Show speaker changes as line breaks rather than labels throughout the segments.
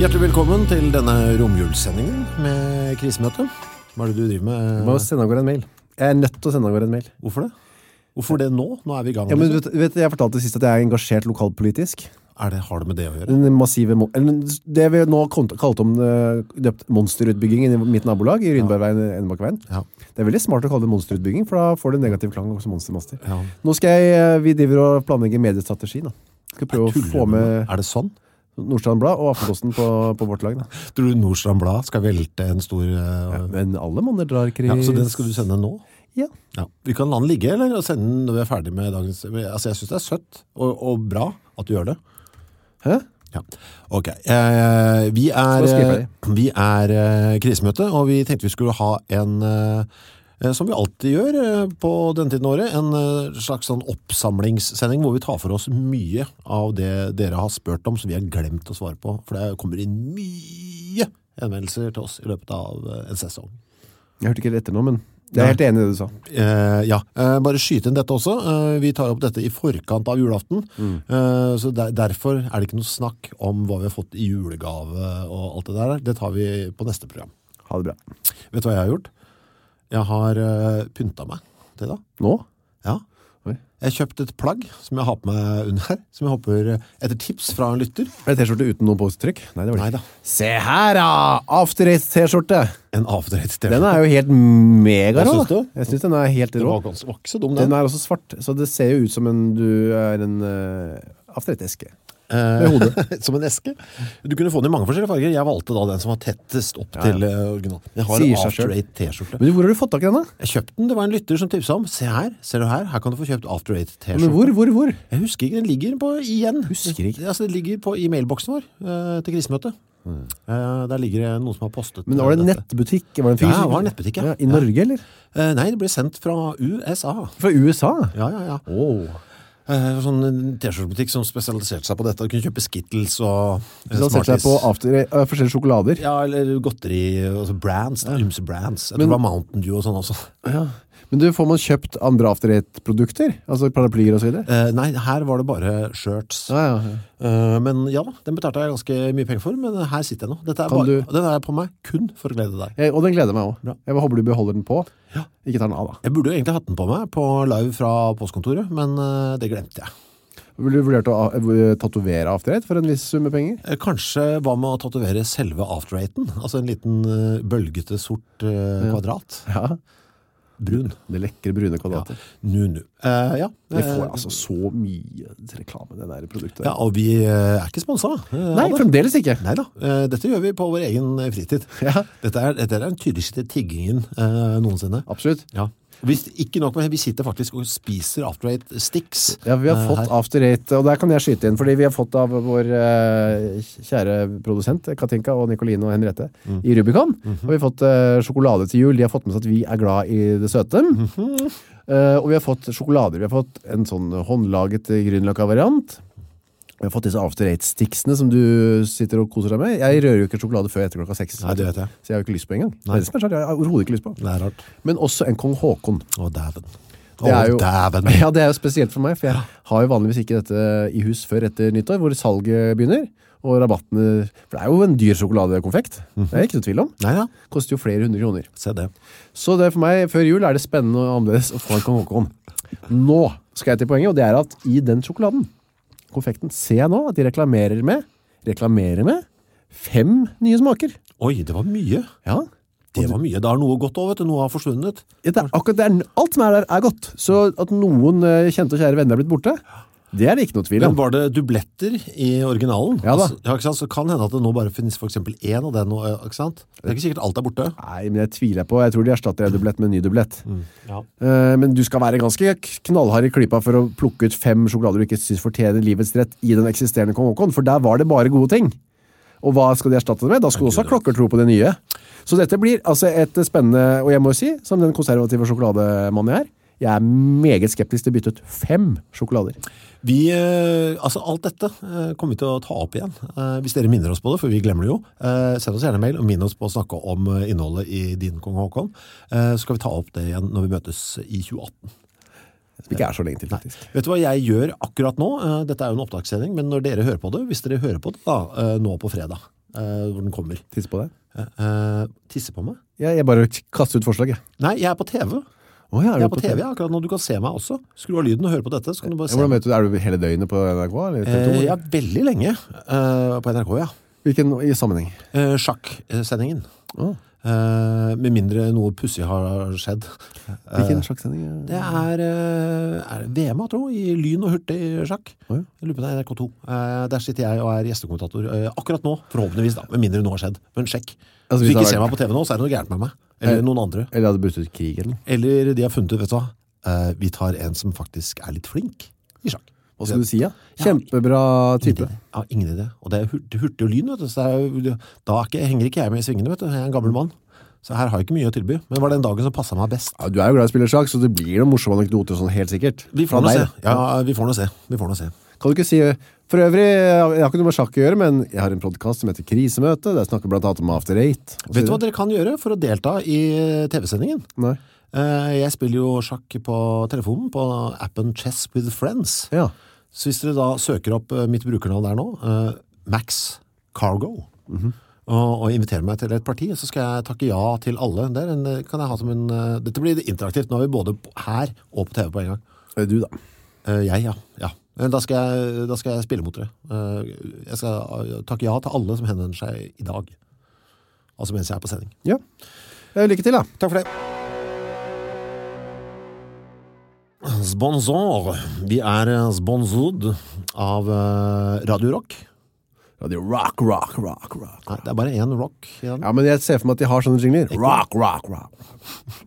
Hjertelig velkommen til denne romjulssendingen med krisemøte. Hva er det du driver
Du må
med?
sende av gårde en mail. Jeg er nødt til å sende av gårde en mail.
Hvorfor det? Hvorfor det nå? Nå er vi i gang.
Ja, men
liksom.
du vet, du vet, jeg fortalte sist at jeg er engasjert lokalpolitisk.
er det, har det med det å gjøre?
Den massive, mon- eller det vi nå kon- kalte om eh, døpt monsterutbyggingen i mitt nabolag, i Rynbergveien og Enebakkeveien.
Ja.
Det er veldig smart å kalle det monsterutbygging, for da får det negativ klang også monstermaster.
Ja.
Nå skal jeg, eh, vi driver og planlegger mediestrategi da. Skal prøve å
Tuller
få
du
med
Er det sånn?
Nordstrand Blad og Aftenposten på, på vårt lag da.
Tror du Nordstrand Blad skal velte en stor eh,
Men alle manner drar kris.
ja, Så den skal du sende nå?
Ja.
Ja. Vi kan la den ligge, eller Og sende den når vi er ferdig med dagens Altså, jeg syns det er søtt og, og bra at du gjør det.
Hæ?
Ja, ok. Eh, vi
Så skal jeg
er,
ferdig.
vi er eh, krisemøte, og vi tenkte vi skulle ha en, eh, eh, som vi alltid gjør eh, på denne tiden av året, en eh, slags sånn oppsamlingssending hvor vi tar for oss mye av det dere har spurt om, som vi har glemt å svare på, for det kommer inn mye henvendelser til oss i løpet av eh, en sesong.
Jeg hørte ikke det etter nå, men jeg er helt enig i det du sa.
Eh, ja, eh, bare skyte inn dette også. Eh, vi tar opp dette i forkant av julaften,
Mm.
eh, så der, derfor er det ikke noe snakk om hva vi har fått i julegave og alt det der. Det tar vi på neste program.
Ha det bra.
Vet du hva jeg har gjort? Jeg har eh, pynta meg til da.
Nå?
Ja.
Oi.
Jeg kjøpte et plagg som jeg har på meg under her, som jeg håper eh, etter tips fra en lytter.
Er det t-skjorte uten noe påstrykk? Nei, det var det
Nei
ikke.
da,
Se her da! After Eight t-skjorte!
en avdreit
Den
T-skjorte.
er jo helt mega rå.
Hva syns
da.
du?
Jeg synes den er helt
Den
rå.
var, gans- var ikke så dum, den.
Den er også svart, så det ser jo ut som en du er en eh, After Eight-eske.
Eh,
Med
som en eske. Du kunne få den i mange forskjellige farger. Jeg valgte da den som var tettest opp
ja.
til eh, original. Jeg har
Sier
en
seg
After
selv.
Eight T-skjorte.
Men du, hvor har du fått tak i den da?
Jeg kjøpte den, det var en lytter som tipsa om. Se her, ser du her? Her kan du få kjøpt After Eight
Men
T-skjorte.
hvor, hvor, hvor?
Jeg husker ikke, den ligger på igjen.
Husker ikke. Mm.
Altså, den ligger på i mailboksen vår eh, til krisemøtet. Eh, der ligger det noen som har postet eh,
Men var det en
dette.
nettbutikk? Var det
Ja,
en fysisk
det var en nettbutikk, ja.
I Norge, eller?
Eh, nei, det ble sendt fra USA.
Fra USA?
Ja, ja, ja.
Åh.
Eh, sånn en T-skjortebutikk som spesialiserte seg på dette. Du kunne kjøpe Skittles og eh,
Så han setter seg på after, eh, forskjellige sjokolader.
Ja, eller godteri, altså brands, da, ymse brands. Jeg tror det var Mountain Dew og sånn også.
Men du, får man kjøpt andre after eight-produkter? Altså paraplyer og så videre?
Eh, nei, her var det bare shirts.
Ja, ja, ja.
Eh, men ja, da, den betalte jeg ganske mye penger for, men her sitter jeg nå. Dette er
Kan
bare,
du-
Den er på meg kun for å glede deg.
Jeg, og den gleder jeg meg også.
Bra.
Jeg håper du beholder den på.
Ja.
Ikke tar den av, da.
Jeg burde jo egentlig hatt den på meg på live fra postkontoret, men eh, det glemte jeg.
Vil du vurdert å eh, tatovere After Eight for en viss summe penger?
Eh, Kanskje hva med å tatovere selve after-raten? Altså en liten eh, bølgete sort eh, kvadrat.
Ja.
Brun.
Det lekre brune
Ja.
kvadratet.
Nu-nu. Eh, ja.
Det får
eh,
altså så mye reklame, det der produktet.
ja, og vi eh, er ikke sponsa. eh,
Nei,
av det.
fremdeles ikke.
Nei da, Eh, dette gjør vi på vår egen eh, fritid.
Ja.
Dette er, dette er den tydeligste tiggingen eh, noensinne.
Absolutt.
Vi, ikke nok med det, vi sitter faktisk og spiser After Eight Sticks.
Ja, vi har
eh,
fått
her.
After Eight, og der kan jeg skyte inn, fordi vi har fått av vår eh, kjære produsent, Katinka og Nicoline og Henriette,
Mm.
i Rubicon,
Mhm.
og vi har fått eh, sjokolade til jul. De har fått med seg at vi er glad i det søte.
Mhm.
Eh, og vi har fått sjokolader. Vi har fåt en sånn håndlaget grønnløkka-variant. Vi har fått disse After Eight-stiksene som du sitter og koser deg med. Jeg rører jo ikke sjokolade før etter klokka seks.
Nei, det vet jeg.
Så jeg har jo ikke lyst på engang. Det
Nei.
er det som er svært, jeg har overhodet ikke lyst på.
Det er rart.
Men også en Kong Haakon.
Å, dæven. Å,
Det er jo-
dæven.
Ja, det er jo spesielt for meg, for jeg har jo vanligvis ikke dette i hus før etter nyttår, hvor salget begynner, og rabattene, for det er jo en dyr sjokoladekonfekt, det er ikke noe tvil om,
Nei da,
koster jo flere hundre kroner.
se det.
Så det er for meg, før jul er det spennende og annerledes å få en Kong Haakon. Nå skal jeg til poenget, og det er at i den sjokoladen, konfekten, ser jeg nå at de reklamerer med, reklamerer med, fem nye smaker.
Oi, det var mye.
Ja,
Det var mye. Da har noe gått over, vet du. Noe har forsvunnet.
det er, akkurat det er, alt som er der er godt, så at noen eh, kjente og kjære venner er blitt borte, det er det ikke noe tvil om.
Men var det dubletter i originalen?
Ja da.
Altså, ja, ikke sant? Så kan hende at det nå bare finnes for eksempel én av den, og, eh, ikke sant? Det er ikke sikkert alt er borte.
Nei, men jeg tviler på. Jeg tror de erstatter en dublett med en ny dublett.
Ja.
Eh, men du skal være ganske k- knallhard i klypa for å plukke ut fem sjokolader du ikke syns fortjener livets rett i den eksisterende Kong Haakon, for der var det bare gode ting. Og hva skal de erstatte det med? Da skal du også ha klokkertro på det nye. Så dette blir altså et spennende, og jeg må jo si, som den konservative sjokolademannen jeg er, jeg er meget skeptisk til å bytte ut fem sjokolader.
Vi, eh, altså alt dette eh, kommer vi til å ta opp igjen. Eh, hvis dere minner oss på det, for vi glemmer det jo, eh, send oss gjerne en mail og minn oss på å snakke om eh, innholdet i din Kong Haakon. Eh, så skal vi ta opp det igjen når vi møtes i 2018.
Som ikke er så lenge til, faktisk.
Vet du hva jeg gjør akkurat nå? Eh, dette er jo en opptakssending, men når dere hører på det, hvis dere hører på det da, eh, nå på fredag, eh, hvor den kommer.
Tiss på deg.
Eh, eh, tisse på meg?
Ja, jeg bare k- kaster ut forslag, jeg.
Nei, jeg er på TV.
Å, ja,
Jeg
er du
er på TV akkurat nå. Du kan se meg også. Skru av lyden og høre på dette, så kan du bare
Ja,
se
hvordan
meg.
vet du, er du hele døgnet på NRK? Eller TV2?
Eh, ja, veldig lenge eh, på NRK, ja.
Hvilken i sammenheng?
Eh, Sjakksendingen.
Å,
Eh, med mindre noe pussig har skjedd.
hvilken slags sending?
Det er, eh, er det VM, jeg tror, i lyn og hurtig sjakk.
Å, ja.
Jeg lurer på det er NRK2. Eh, der sitter jeg og er gjestekommentator eh, akkurat nå, forhåpentligvis da, med mindre noe har skjedd. Men sjekk. Hvis
Altså, hvis
du
det
ikke
har
ser meg
vært-
på TV nå, så er det noe gærent med meg. Eller
Eh.
noen andre.
Eller hadde brutt ut krig eller noe?
Eller de har funnet ut, vet du hva, eh, vi tar en som faktisk er litt flink i sjakk.
Hva skal du si, ja? Kjempebra type.
Ja, ingen idé. Og det er hurt- hurtig og lyn, vet du. Så det er, jo- da er ikke, henger ikke jeg med i svingene, vet du. Jeg er en gammel mann. Så her har jeg ikke mye å tilby. Men var den dagen som passet meg best?
Ja, du er jo glad i å spille sjakk, så det blir noen morsomme anekdoter og sånn, helt sikkert.
Vi
Fra
får nå
deg,
se.
da.
Ja, vi får nå se. Vi får nå se.
Kan du ikke si, for øvrig, jeg har ikke noe med sjakk å gjøre, men jeg har en podcast som heter Krisemøte, der snakker vi blant annet om After Eight. og så
Vet du hva
videre.
dere kan gjøre for å delta i TV-sendingen?
Nei.
Eh, Jeg spiller jo sjakk på telefonen på appen Chess with Friends.
Ja.
Så hvis dere da søker opp eh, mitt brukernavn der nå, eh, Max Cargo, og, og inviterer meg til et parti, så skal jeg takke ja til alle. Det er en, eh, kan jeg ha som en... eh, Dette blir interaktivt. Nå er vi både på- her og på TV på en gang.
Eh, Du da.
Eh, jeg, ja. ja. Eh, Da skal, jeg, da skal jeg spille mot dere. Eh, Jeg skal eh, takke ja til alle som henvender seg i dag. Altså mens jeg er på sending.
Ja. Eh, Lykke til da.
Takk for det. Sponsor. Vi er eh, sponsored av eh, Radio Rock.
Radio Rock, Rock, Rock, Rock.
Nei, det er bare én rock i den.
Ja, men jeg ser for meg at de har sånne jingler. Rock, Rock, Rock.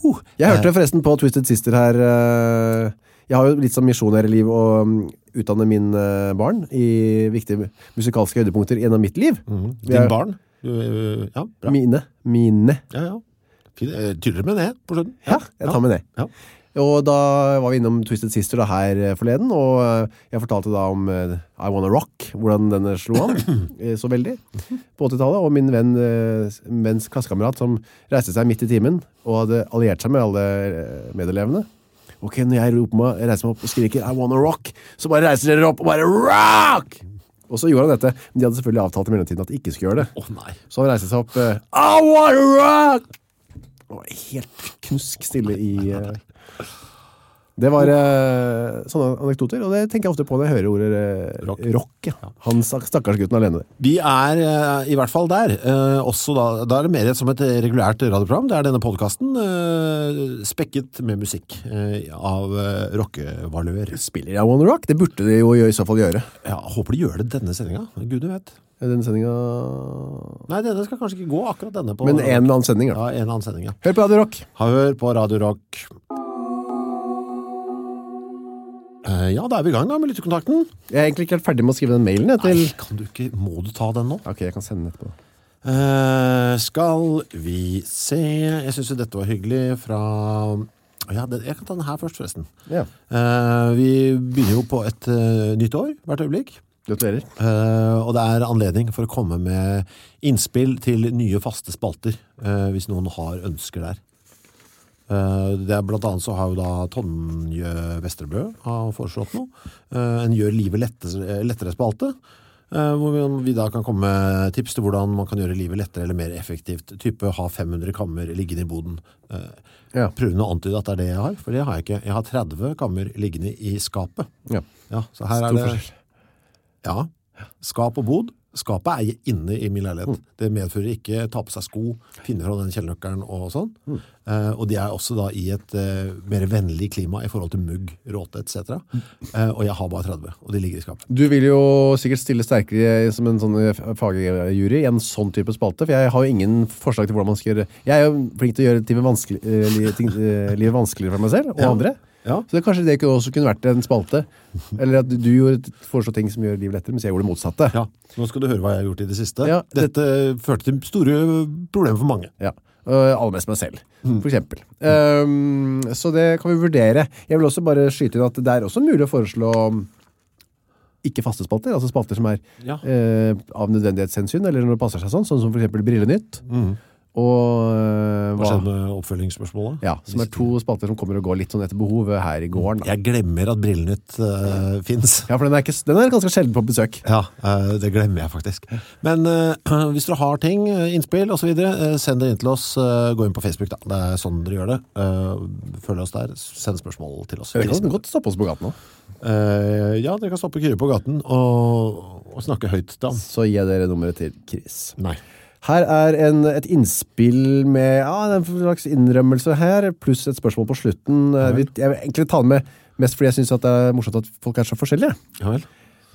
Uh,
Jeg hørte forresten på Twisted Sister her, eh, jeg har jo litt sånn misjonær i liv og mm, utdanne min eh, barn i viktige musikalske høydepunkter gjennom mitt liv. Vi
Mm. Din
er- Mm.
barn. Du, eh, ja, Mhm. bra.
Mine. Mine.
Ja, ja. Fin, eh, tydeligere med det på slutten.
Ja, jeg tar med det.
Ja.
Og da var vi innom Twisted Sister da, her eh, forleden, og eh, jeg fortalte da om eh, I Wanna Rock, hvordan den slo an eh, så veldig på 80-tallet, og min venn, eh, s- venns klassekammerat som reiste seg midt i timen og hadde alliert seg med alle eh, medelevene. Ok, når jeg roper meg, reiser meg opp og skriker I Wanna Rock, så bare reiser dere opp og bare rock! Og så gjorde han dette, men de hadde selvfølgelig avtalt i mellomtiden at de ikke skulle gjøre det.
Å nei.
Så han reiste seg opp eh, I wanna rock! Det var helt knusk stille i eh, Det var eh, sånne anekdoter Og det tenker jeg ofte på når jeg hører ordet eh,
Rock.
rock ja. Han stak- stakkars gutten alene
Vi er eh, i hvert fall der. eh, også da, da er det mer som et regulært radioprogram. Det er denne podkasten eh, spekket med musikk eh, av eh, rockevalør.
Spiller jeg I wanna rock? Det burde de jo i så fall gjøre
Ja, håper de gjør det denne sendinga. Gud vet.
Denne sendingen
Nei, denne skal kanskje ikke gå akkurat denne på
Men en eller annen sending da
ja, en annen sending. Ja.
Hør på Radio Rock
Hør på Radio Rock. Eh, ja, da er vi i gang da med lyttekontakten.
Jeg er egentlig ikke helt ferdig med å skrive den mailen jeg, til
Nei, kan du ikke, må du ta den nå?
Ok, jeg kan sende den etterpå
Eh, skal vi se Jeg synes jo dette var hyggelig fra ja, det, Jeg kan ta den her først forresten
Ja,
Eh, Vi begynner jo på et eh, nytt år Hvert øyeblikk
gratulerer
Eh, Og det er anledning for å komme med Innspill til nye faste spalter eh, Hvis noen har ønsker der Eh, det er blant annet så har jo da Tonje Vesterbø har foreslått noe. Eh, en gjør livet lettere, lettere spalte, eh, hvor vi- vi da kan komme med tips til hvordan man kan gjøre livet lettere eller mer effektivt. Type ha 500 kammer liggende i boden. Uh,
Ja.
Prøvende å antyde at det er det jeg har, for det har jeg ikke. Jeg har 30 kammer liggende i skapet.
Ja,
Ja, så her er
stor
det...
forskjell
Ja. Skap og bod. Skapet er inne i min leilighet. Det medfører ikke ta på seg sko, finne fra den kjellnøkkelen og sånn. Eh, og de er også da i et eh, mer vennlig klima i forhold til mugg, råte, etc. Eh, og jeg har bare 30, og de ligger i skapet.
Du vil jo sikkert stille sterkere som en sånn eh, fagjury i en sånn type spalte, for jeg har jo ingen forslag til hvordan man skal gjøre Jeg er jo flink til å gjøre livet, vanskelig, eh, li- ting, eh, livet vanskeligere for meg selv og
Ja.
andre.
Ja.
Så det, kanskje det kunne også kunne vært en spalte. Eller at du gjorde- foreslo ting som gjør livet lettere, mens jeg gjorde det motsatte.
Ja, Nå skal du høre hva jeg har gjort i det siste.
Ja, det-
Dette førte til store problemer for mange.
Ja. Øh, aller mest meg selv, for eksempel. Ehm, så det kan vi vurdere. Jeg vil også bare skyte inn at det er også mulig å foreslå um, ikke faste spalter, altså spalter som er
Ja.
eh, av nødvendighetshensyn, eller når det passer seg sånn, sånn som for eksempel Brillenytt. Og eh,
Hva skjedde med oppfølgingsspørsmålet?
Ja, som er to spalter som kommer og går litt sånn etter behov eh, her i gården. da.
Jeg glemmer at Brillenytt uh, finnes.
Ja, for den er, ikke, den er ganske sjelden på besøk.
Ja, eh, det glemmer jeg faktisk. Men eh, hvis dere har ting, eh, innspill og så videre, eh, send det inn til oss. eh, gå inn på Facebook, da. Det er sånn dere gjør det. Eh, følg oss der. Send spørsmål til oss.
Dere kan godt stoppe oss på gaten nå.
Eh, ja, dere kan stoppe Kyrre på gaten og, og snakke høyt til ham.
Så gir jeg dere nummeret til Chris.
Nei.
Her er en, et innspill med ja, det er en slags innrømmelse her, pluss et spørsmål på slutten. Eh, vi- Jeg vil egentlig ta den med mest fordi jeg syns det er morsomt at folk er så forskjellige.
Ja vel.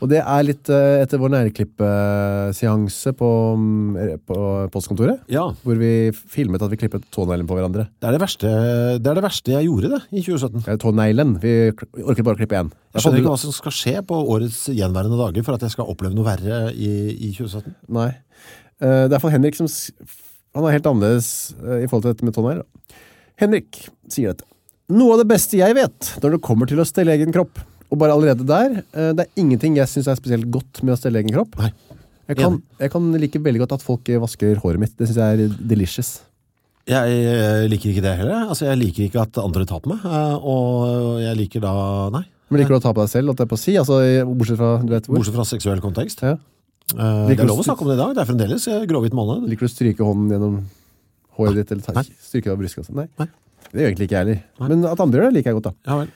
Og det er litt eh, etter vår nærklippeseanse på, mm, på postkontoret,
Ja,
hvor vi filmet at vi klippet tåneglen på hverandre.
det er det verste, det er det verste jeg gjorde det, i 2017.
Eller tåneglen. Vi k- orket bare å klippe én.
Jeg skjønner ikke hva som skal skje på årets gjenværende dager for at jeg skal oppleve noe verre i, i 2017.
Nei. Eh, det er for Henrik som s- Han er helt annerledes eh, i forhold til dette med tånegl. Henrik sier dette. Noe av det beste jeg vet når det kommer til å stelle egen kropp, og bare allerede der, eh, det er ingenting jeg syns er spesielt godt med å stelle egen kropp.
Nei.
Jeg kan, jeg kan like veldig godt at folk eh, vasker håret mitt. Det syns jeg er delicious.
Jeg eh, liker ikke det heller. Altså, jeg liker ikke at andre tar på meg, eh, og jeg liker da, nei,
Men liker du å ta på deg selv, holdt jeg på å si? Altså, i- bortsett fra du vet hvor?
bortsett fra seksuell kontekst.
Ja.
Eh, Det
Liker
er
du
lov å snakke om det i dag, det er fremdeles eh, gråhvit måned.
Liker du å stryke hånden gjennom håret ditt, eller ta,
Nei.
stryke deg på brystet? og sånn? Nei.
Nei.
Det gjør egentlig ikke jeg heller. Men at andre gjør det, liker jeg godt, da.
Ja vel.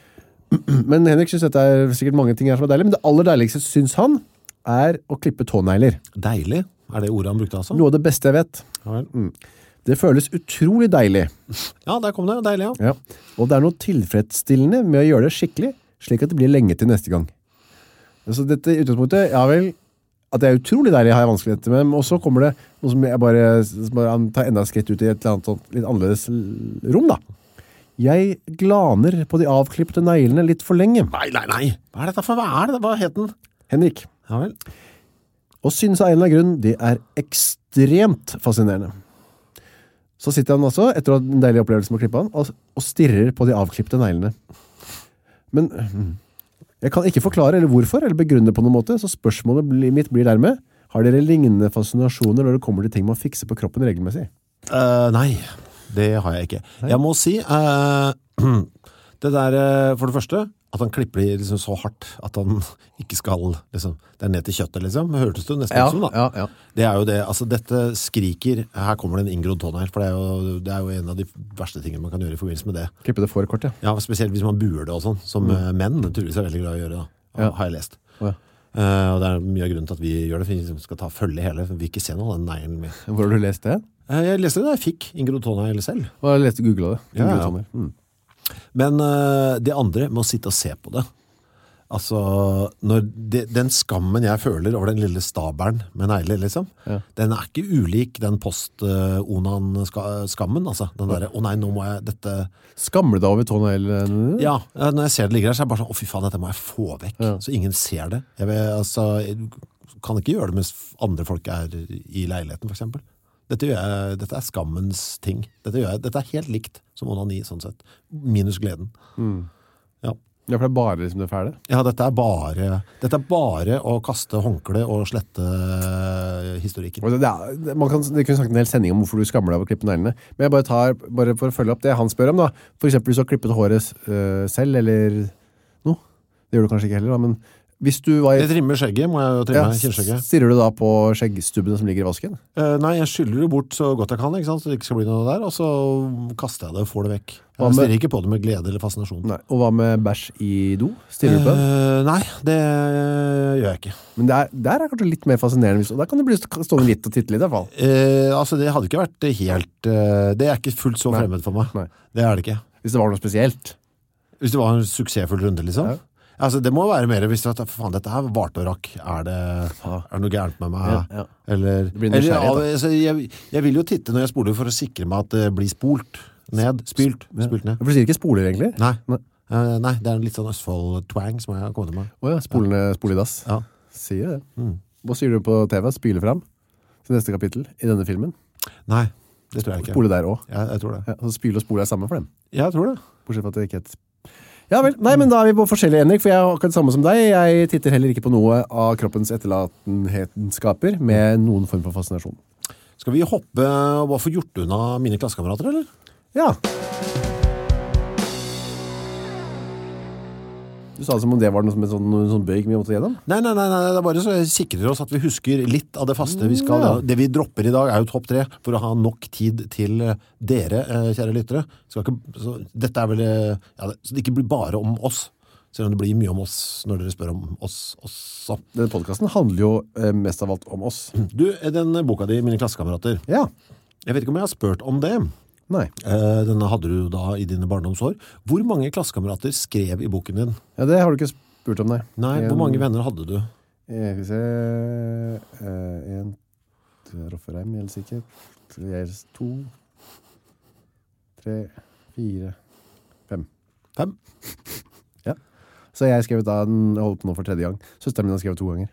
Men Henrik synes dette er sikkert mange ting her som er deilig, men det aller deiligste synes han er å klippe tånegler.
Deilig, er det ordet han brukte altså?
Noe av det beste jeg vet.
Ja, vel. Mm.
Det føles utrolig deilig.
ja, der kom det, deilig, ja.
Ja. Og det er noe tilfredsstillende med å gjøre det skikkelig, slik at det blir lenge til neste gang. Så dette i utgangspunktet, ja vel, at det er utrolig deilig har jeg vanskeligheter med, men også kommer det noe som jeg bare, som bare han tar enda et skritt ut i et eller annet sånt litt annerledes l- rom da. Jeg glaner på de avklippte neglene litt for lenge.
Nei, nei, nei. Hva er dette for, hva er det, hva het den?
Henrik,
Ja vel.
Og synes av en eller annen grunn det er ekstremt fascinerende. Så sitter han altså, etter å ha hatt en deilig opplevelse med å klippe han, og, og stirrer på de avklippte neglene. Men mm, jeg kan ikke forklare eller hvorfor, eller begrunne det på noen måte, så spørsmålet bli- mitt blir dermed, har dere lignende fascinasjoner når det kommer til ting man fikser på kroppen regelmessig?
Eh, nei, det har jeg ikke. Jeg må si, eh, det der, eh, for det første, at han klipper de liksom så hardt at han ikke skal, liksom, det er ned til kjøttet, liksom. Hørtes det nesten ut som, da.
ja, ja.
Det er jo det, altså dette skriker, her kommer det en inngrodd tånegl, for det er, jo, det er jo en av de verste tingene man kan gjøre i forbindelse med det.
Klippe det fårekort, ja.
Ja, spesielt hvis man buer det og sånn, som eh, menn tydeligvis er veldig glad i å gjøre da,
Ja.
har jeg lest.
Å, ja.
Eh, og det er mye av grunnen til at vi gjør det, for vi liksom skal ta følge hele, for vi vil ikke se noe av den neglen min.
Hvor har du lest det?
Eh, jeg leste det da jeg fikk inngrodd tånegl selv.
Hva har du lest Google det?
Ja, ja.
Googlet Tommy. Mm.
Men eh, det andre med å sitte og se på det Altså, når det, den skammen jeg føler over den lille stabelen med negler, liksom,
Ja.
den er ikke ulik den post-onan-skammen, altså. Den derre, å nei, nå må jeg dette...
Skammer du deg over tåneglene?
Ja, eh, når jeg ser det ligger der, så er jeg bare sånn, å fy faen, dette må jeg få vekk,
Hm. Ja.
så ingen ser det. Jeg vil, altså, jeg kan ikke gjøre det mens andre folk er i leiligheten, for eksempel. Dette, gjør jeg, dette er skammens ting. Dette, gjør jeg, dette er helt likt som onani, sånn sett. Minus gleden. Ja.
Ja, for det er bare liksom det fæle.
Ja, dette er bare, dette er bare å kaste håndkle og slette eh, historikken.
Og Altså, Det, det, er, det- man kan, det kunne snakket en hel sending om hvorfor du skammer deg over å klippe neglene. Men jeg bare tar, bare for å følge opp det han spør om da, for eksempel hvis du har klippet håret øh, selv, eller noe, det gjør du kanskje ikke heller da, men hvis du var i...
Jeg trimmer skjegget, må jeg jo trimme
Ja,
kinnskjegget.
stirrer du da på skjeggstubbene som ligger i vasken?
Eh, nei, jeg skyller det bort så godt jeg kan, ikke sant? så det ikke skal bli noe der, og så kaster jeg det og får det vekk.
Hva
Jeg
med-
stirrer ikke på det med glede eller fascinasjon.
Nei. Og hva med bæsj i do? Stirrer du på den?
Eh, nei, det gjør jeg ikke.
Men der, der er kanskje litt mer fascinerende, hvis- og der kan du bli stående litt og titte litt i hvert fall.
Eh, altså, det hadde ikke vært helt... eh, det er ikke fullt så
Nei.
fremmed for meg.
Nei.
Det er det ikke.
Hvis det var noe spesielt.
Hvis det var en suksessfull runde, liksom.
Ja.
Altså, det må jo være mer hvis det, for faen, dette her varte og rakk. Er det,
Ja.
er det noe gærent med meg?
Ja, ja.
Eller,
blir
eller
nysgjerrig,
av-
da.
altså, jeg, jeg vil jo titte når jeg spoler for å sikre meg at det blir spolt ned. Spylt. Spylt ned.
For du sier ikke spoler egentlig?
Nei.
Nei.
Eh, nei, det er en litt sånn Østfold-twang som jeg har kommet med.
Åja, spolene, spoledass.
Ja. Mm.
Sier det. Hva sier du på TV? Spyle fram til neste kapittel i denne filmen.
Nei, det tror jeg ikke.
Spole der òg.
Jeg, jeg tror det.
Ja, så spyle og spole er samme for dem.
Jeg tror det.
Bortsett fra at det ikke heter Ja vel. Nei, men da er vi på forskjellige, Henrik, for jeg er akkurat samme som deg. Jeg titter heller ikke på noe av kroppens etterlatenhetenskaper med noen form for fascinasjon.
Skal vi hoppe og bare få gjort unna mine klassekamerater, eller?
Ja. Du sa det som om det var noe som en sånn, en sånn bøyg vi måtte gjennom.
Nei, nei, nei, nei, det er bare så jeg sikrer oss at vi husker litt av det faste vi skal.
Ja.
Det vi dropper i dag er jo topp tre, for å ha nok tid til eh, dere, eh, kjære lyttere. Skal ikke, så, dette er vel, eh, ja, det, så det ikke blir bare om oss, selv om det blir mye om oss når dere spør om oss også.
Denne podkasten handler jo eh, mest av alt om oss.
Du, eh, den boka di, mine klassekamerater,
Ja.
jeg vet ikke om jeg har spurt om det.
Nei.
Eh, Denne hadde du da i dine barndomsår. Hvor mange klassekamerater skrev i boken din?
Ja, det har du ikke spurt om, nei.
Nei,
En-
hvor mange venner hadde du?
Jeg skal se eh, En Rofferheim, helt sikkert. Gjerds to. Tre. Fire.
Fem?
Så jeg skrev da den, jeg holder på nå for tredje gang. Søsteren min har skrevet to ganger.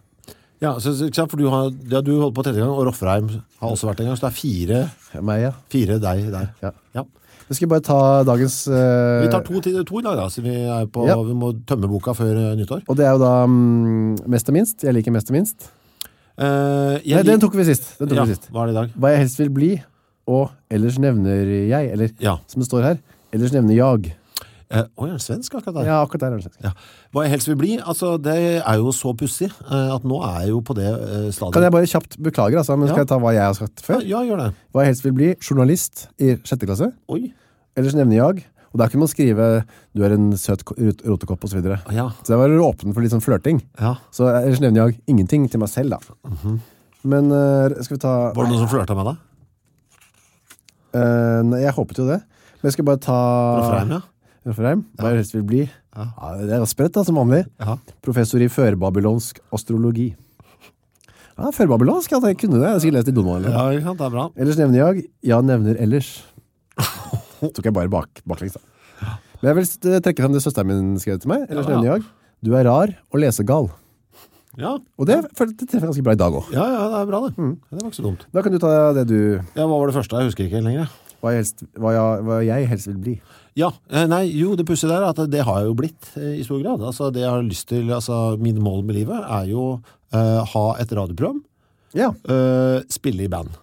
Ja, så, så- ikke sant? For du, har, ja, du holdt på tredje gang, og Roffreim har også vært en gang, så det er fire,
Meg, ja.
fire deg der.
ja.
Ja.
Jeg skal bare ta dagens eh,
Vi tar to, til- to i dag, da, så vi, er på,
Ja.
vi må tømme boka før eh, nyttår.
Og det er jo da mm, mest og minst. Jeg liker mest og minst.
Eh, jeg
Nei, den
lik-
tok vi sist. Den tok
ja,
vi sist.
Hva er det i dag?
Hva jeg helst vil bli, og ellers nevner jeg, eller
Ja.
som det står her, ellers nevner jeg.
Eh, Å, er det svensk akkurat der?
Ja, akkurat der er det svensk.
Ja. Hva jeg helst vil bli, altså det er jo så pussig eh, at nå er jeg jo på det eh, stadiet.
Kan jeg bare kjapt beklage, altså, men
Ja.
skal jeg ta hva jeg har sagt
Ja,
før?
ja, gjør det.
Hva jeg helst vil bli, journalist i sjette klasse,
Oi.
ellers nevner jeg, og der kunne man skrive, du er en søt ko- rot- rotekopp og så videre.
Ja,
Så der var du åpen for litt sånn flørting.
ja.
Så eh, ellers nevner jeg ingenting til meg selv da.
Mhm.
Men eh, skal vi ta...
Var det noen som flørte med deg?
Eh, nei, jeg håpet jo det. Men jeg skal bare ta...
Roffreim, ja.
Rafferheim, hva jeg helst vil bli. Ja. det er sprøtt da, som vanlig.
Ja.
Professor i førbabylonsk astrologi. Ja, førbabylonsk, ja, jeg kunne det. Jeg har sikkert lest i Donald.
Ja, ikke sant, det er bra.
Ellers nevner jeg, ja nevner ellers. Tok jeg bare bak, baklengs da. Men jeg vil eh, trekke frem det søsteren min skrev til meg. Ellers
Ja, ja.
nevner jeg, du er rar og lesegal.
Ja,
Og det, føler jeg- det treffer ganske bra i dag også.
ja, ja det er bra det.
Mm.
Det var ikke så dumt.
Da kan du ta det du,
Ja, hva var det første? Jeg husker ikke helt lenger.
hva jeg helst, hva jeg, hva jeg helst vil bli.
Ja, eh, nei, jo, det pussige der er at det har jeg jo blitt eh, i stor grad. Altså, det jeg har lyst til, altså, mine mål med livet er jo eh, ha et radioprogram,
Ja,
eh, spille i band.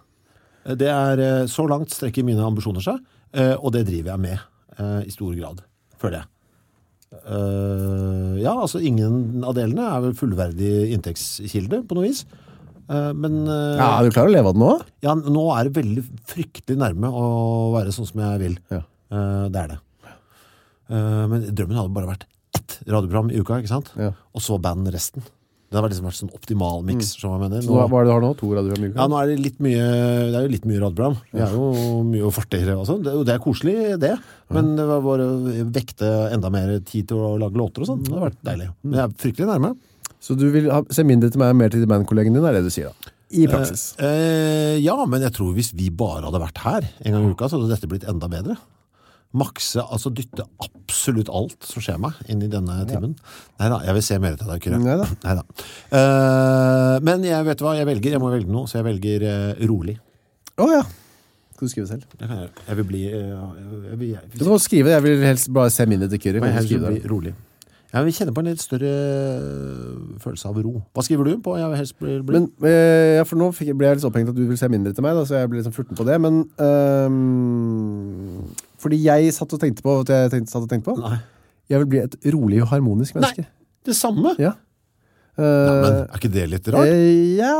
Eh, Det er, eh, så langt strekker mine ambisjoner seg, eh, og det driver jeg med eh, i stor grad, føler jeg. Eh, ja, altså, ingen av delene er vel fullverdig inntektskilde på noe vis, Eh, men... eh,
ja er du klar å leve av det nå?
Ja, nå er det veldig fryktelig nærme å være sånn som jeg vil.
Ja.
Eh, det er det. Eh, men drømmen hadde bare vært ett radioprogram i uka, ikke sant?
Ja.
Og så band resten. Det hadde liksom vært sånn optimal mix, som jeg mener.
Mm. Så hva
Nå,
hva er det du har nå? To radioer om uka?
ja, nå er det litt mye, det er jo litt mye radioprogram. Det er jo mye fortere og sånn. Det, er jo- det er koselig, det. Men det var bare vekte enda mer tid til å lage låter og sånn. Det hadde vært deilig.
Mm.
Men jeg er fryktelig nærme.
Så du vil ha, se mindre til meg og mer til bandkollegen din, er det du sier da? I praksis.
Eh, ja, men jeg tror hvis vi bare hadde vært her en gang i uka, så hadde dette blitt enda bedre. Makse, altså dytte absolutt alt som skjer meg inn i denne timen. Neida, jeg vil se mer til deg, Kyrre.
Neida.
Neida. Eh, men jeg vet hva, jeg velger, jeg må velge noe, så jeg velger eh, rolig.
Å ja. Skal du skrive selv?
Det kan jeg gjøre. Jeg vil bli, eh, jeg vil, jeg
Du
vil,
kan godt skrive det. Jeg vil helst bare se mindre til
jeg
Kyrre. Kan du
helst
skrive
bli
det?
rolig. Jeg vil kjenne på en litt større eh, følelse av ro. Hva skriver du på? Jeg vil helst bli, bli.
Men, eh, ja, for nå fikk, jeg- ble jeg litt så opphengt at du vil se mindre til meg, da, så jeg ble litt sånn furten på det, men ehm, Fordi jeg satt og tenkte på vet du hva jeg tenkte, satt og tenkte på?
Nei.
Jeg vil bli et rolig og harmonisk menneske.
det samme.
Ja. Eh,
Men er ikke det litt rart?
eh, ja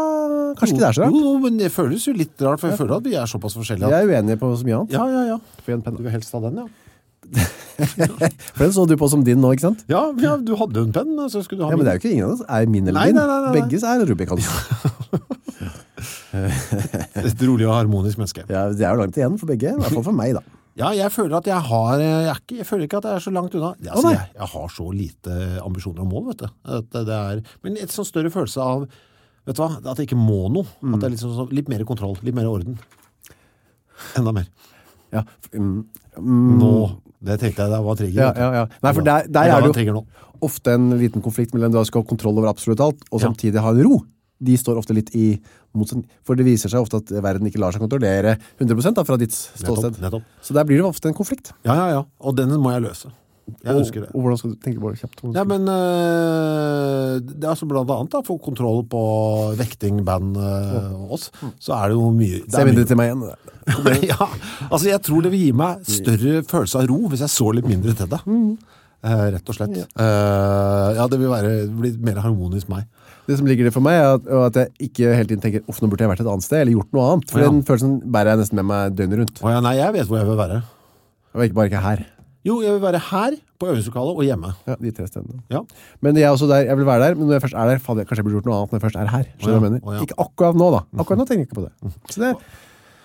Kanskje ikke det er så rart.
Jo, jo, men det føles jo litt rart, for jeg føler at vi er såpass forskjellige. at-
Jeg er uenig på så mye annet.
Ja, ja, ja.
Få igjen penna.
vil helst ha den, ja.
For den så du på som din nå, ikke sant?
Ja, ja du hadde jo en penn, så skulle du ha
Ja,
min.
men det er jo ikke ingen av oss er min eller
Nei,
din.
nei, nei, nei, nei.
Begges er Rubicons.
Et rolig og harmonisk menneske.
Ja, det er jo langt igjen for begge, i hvert fall for meg da.
Ja, jeg føler at jeg har eh, Jeg, er ikke, jeg føler ikke at jeg er så langt unna. Ja,
Å,
Altså,
nei.
jeg, jeg har så lite eh, ambisjoner og mål, vet du. At det, det er, men et sånn større følelse av Vet du hva, at jeg ikke må noe.
Mm.
At det er litt, sånn, sånn- litt mer kontroll, litt mer orden. Enda mer.
Ja, f- mm, mm,
Nå. Det tenkte jeg, det var trigger.
ja,
vet du.
ja, ja. Nei, for der, der
Jeg la
er
en
det jo
trigger nå.
ofte en liten konflikt mellom du skal ha kontroll over absolutt alt, og
Ja.
samtidig ha en ro. De står ofte litt i motsetning, for det viser seg ofte at verden ikke lar seg kontrollere 100% da, fra ditt
Nettopp,
ståsted.
nettopp.
Så der blir det ofte en konflikt.
Ja, ja, ja. Og den må jeg løse. Jeg
og,
husker det.
Og hvordan skal du tenke på det kjapt? Hvordan
Ja,
skal-
men øh, eh, det er altså blant annet da, for kontroll på vekting, band eh, og oss, så er det jo mye... det
Se
er mye-
mindre til meg igjen.
ja, altså jeg tror det vil gi meg større følelse av ro hvis jeg så litt mindre til det. Eh, rett og slett. Eh, ja, det vil være, bli mer harmonisk meg.
Det som ligger der for meg, er at, og at jeg ikke hele tiden tenker uff, nå burde jeg vært et annet sted, eller gjort noe annet. For
Ja.
den følelsen bærer jeg nesten med meg døgnet rundt.
Å ja, nei, jeg vet hvor jeg vil være.
Og ikke bare ikke her.
Jo, jeg vil være her, på øvingslokalet og hjemme.
Ja, de tre stedene.
Ja.
Men jeg, er også der, jeg vil være der, men når jeg først er der, faen, jeg, kanskje jeg burde gjort noe annet når jeg først er her. Skjønner du hva jeg
Å
mener?
ja.
Ikke akkurat nå, da. Akkurat nå tenker jeg ikke på det. Så det,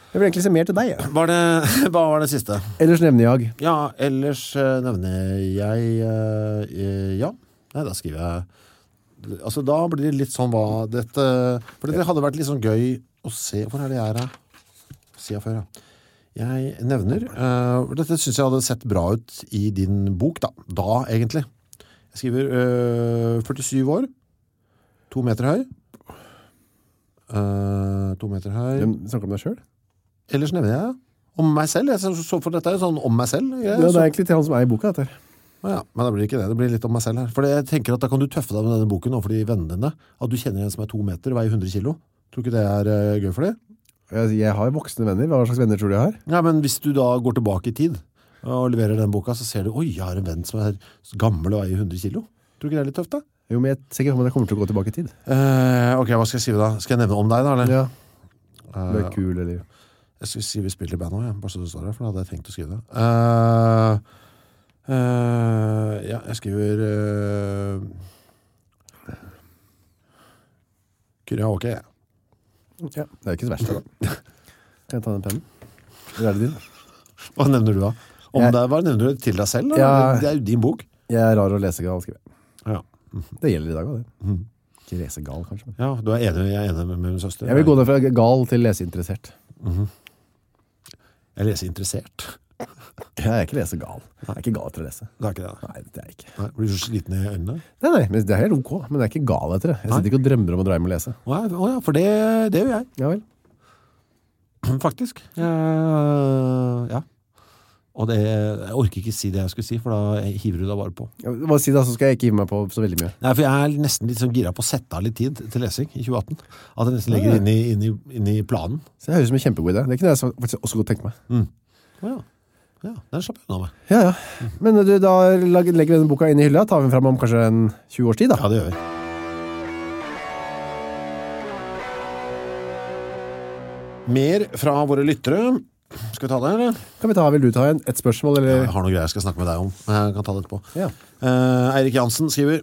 jeg vil egentlig se mer til deg. jeg.
Hva er det, hva var det siste?
Ellers nevner jeg
Ja, ellers eh, nevner jeg eh, eh, Ja, nei, da skriver jeg Altså, da blir det litt sånn hva dette For det hadde vært litt sånn gøy å se Hvor er det jeg er, da? Siden før, ja. Jeg nevner eh, for Dette synes jeg hadde sett bra ut i din bok, da. Da, egentlig. Jeg skriver eh, 47 år, to meter høy. Eh, to meter høy.
Hvem snakker om deg sjøl?
Ellers nevner jeg om meg selv. Jeg så- så for dette er jo sånn om meg selv.
Ja,
Jeg,
det er
så,
egentlig til han som er i boka, dette. her.
Å ja, men da blir det ikke det. Det blir litt om meg selv her. For jeg tenker at da kan du tøffe deg med denne boken overfor de vennene dine. At du kjenner en som er to meter og veier 100 kilo. Tror du ikke det er eh, gøy for deg?
Jeg, jeg har jo voksne venner. Hva slags venner tror du jeg har?
Ja, men hvis du da går tilbake i tid eh, og leverer den boka, så ser du, oi, jeg har en venn som er gammel og veier 100 kilo. Tror du ikke det er litt tøft da?
Jo, men jeg ser ikke for meg at jeg kommer til å gå tilbake i tid.
Eh, ok, hva skal jeg skrive da? Skal jeg nevne om deg da, eller?
Ja,
Eh,
du er kul, eller
Jeg skal skrive spill i band også, ja. bare så det står her, for da hadde jeg tenkt å skrive det. Eh, eh, ja, jeg skriver uh, Karaoke, ja.
ja. Det er jo ikke så verst, da. Kan jeg ta den pennen? Eller er det din?
Hva nevner du da? Om
Jeg-
det, hva nevner du til deg selv? Da?
Ja.
Det er jo din bok.
Jeg er rar og lesegal, skriver jeg.
Ja,
Det gjelder i dag òg, det.
Mhm.
Ikke lesegal, kanskje. men-
ja du er enig, jeg er enig med, med min søster.
Jeg vil gå ned fra gal til leseinteressert.
Jeg leser interessert.
Jeg er ikke lesegal. Jeg er ikke gal etter å lese.
Det er ikke det. da.
Nei, det er jeg ikke.
Nei, blir du så sliten i øynene?
Nei, nei, men det er helt ok, men jeg er ikke gal etter det. Jeg sitter ikke og drømmer om å dra hjem og lese.
Å ja, å ja, for det, det gjør jeg.
Ja vel.
Faktisk. Eh, ja. Og det, jeg orker ikke si det jeg skulle si, for da hiver du deg bare på.
Ja, Bare si det, så skal jeg ikke hive meg på så veldig mye.
Nei, for jeg er nesten litt sånn gira på å sette av litt tid til lesing i 2018. At jeg nesten
Ja.
legger det inn, i- inn, i- inn i planen.
Så det høres ut som en kjempegod idé. Det kunne jeg faktisk også godt tenke meg.
Å ja. ja, den slapp jeg unna med.
Ja, ja. Men eh, du, da lag- legger vi denne boka inn i hylla, tar vi den fram om kanskje en 20 års tid, da.
Ja, det gjør vi. Mer fra våre lyttere. Skal vi ta det, eller?
Kan vi ta, vil du ta en, et spørsmål, eller?
Jeg har noe greier jeg skal snakke med deg om. men Jeg kan ta det etterpå.
Ja.
Eh, Eirik Jansen skriver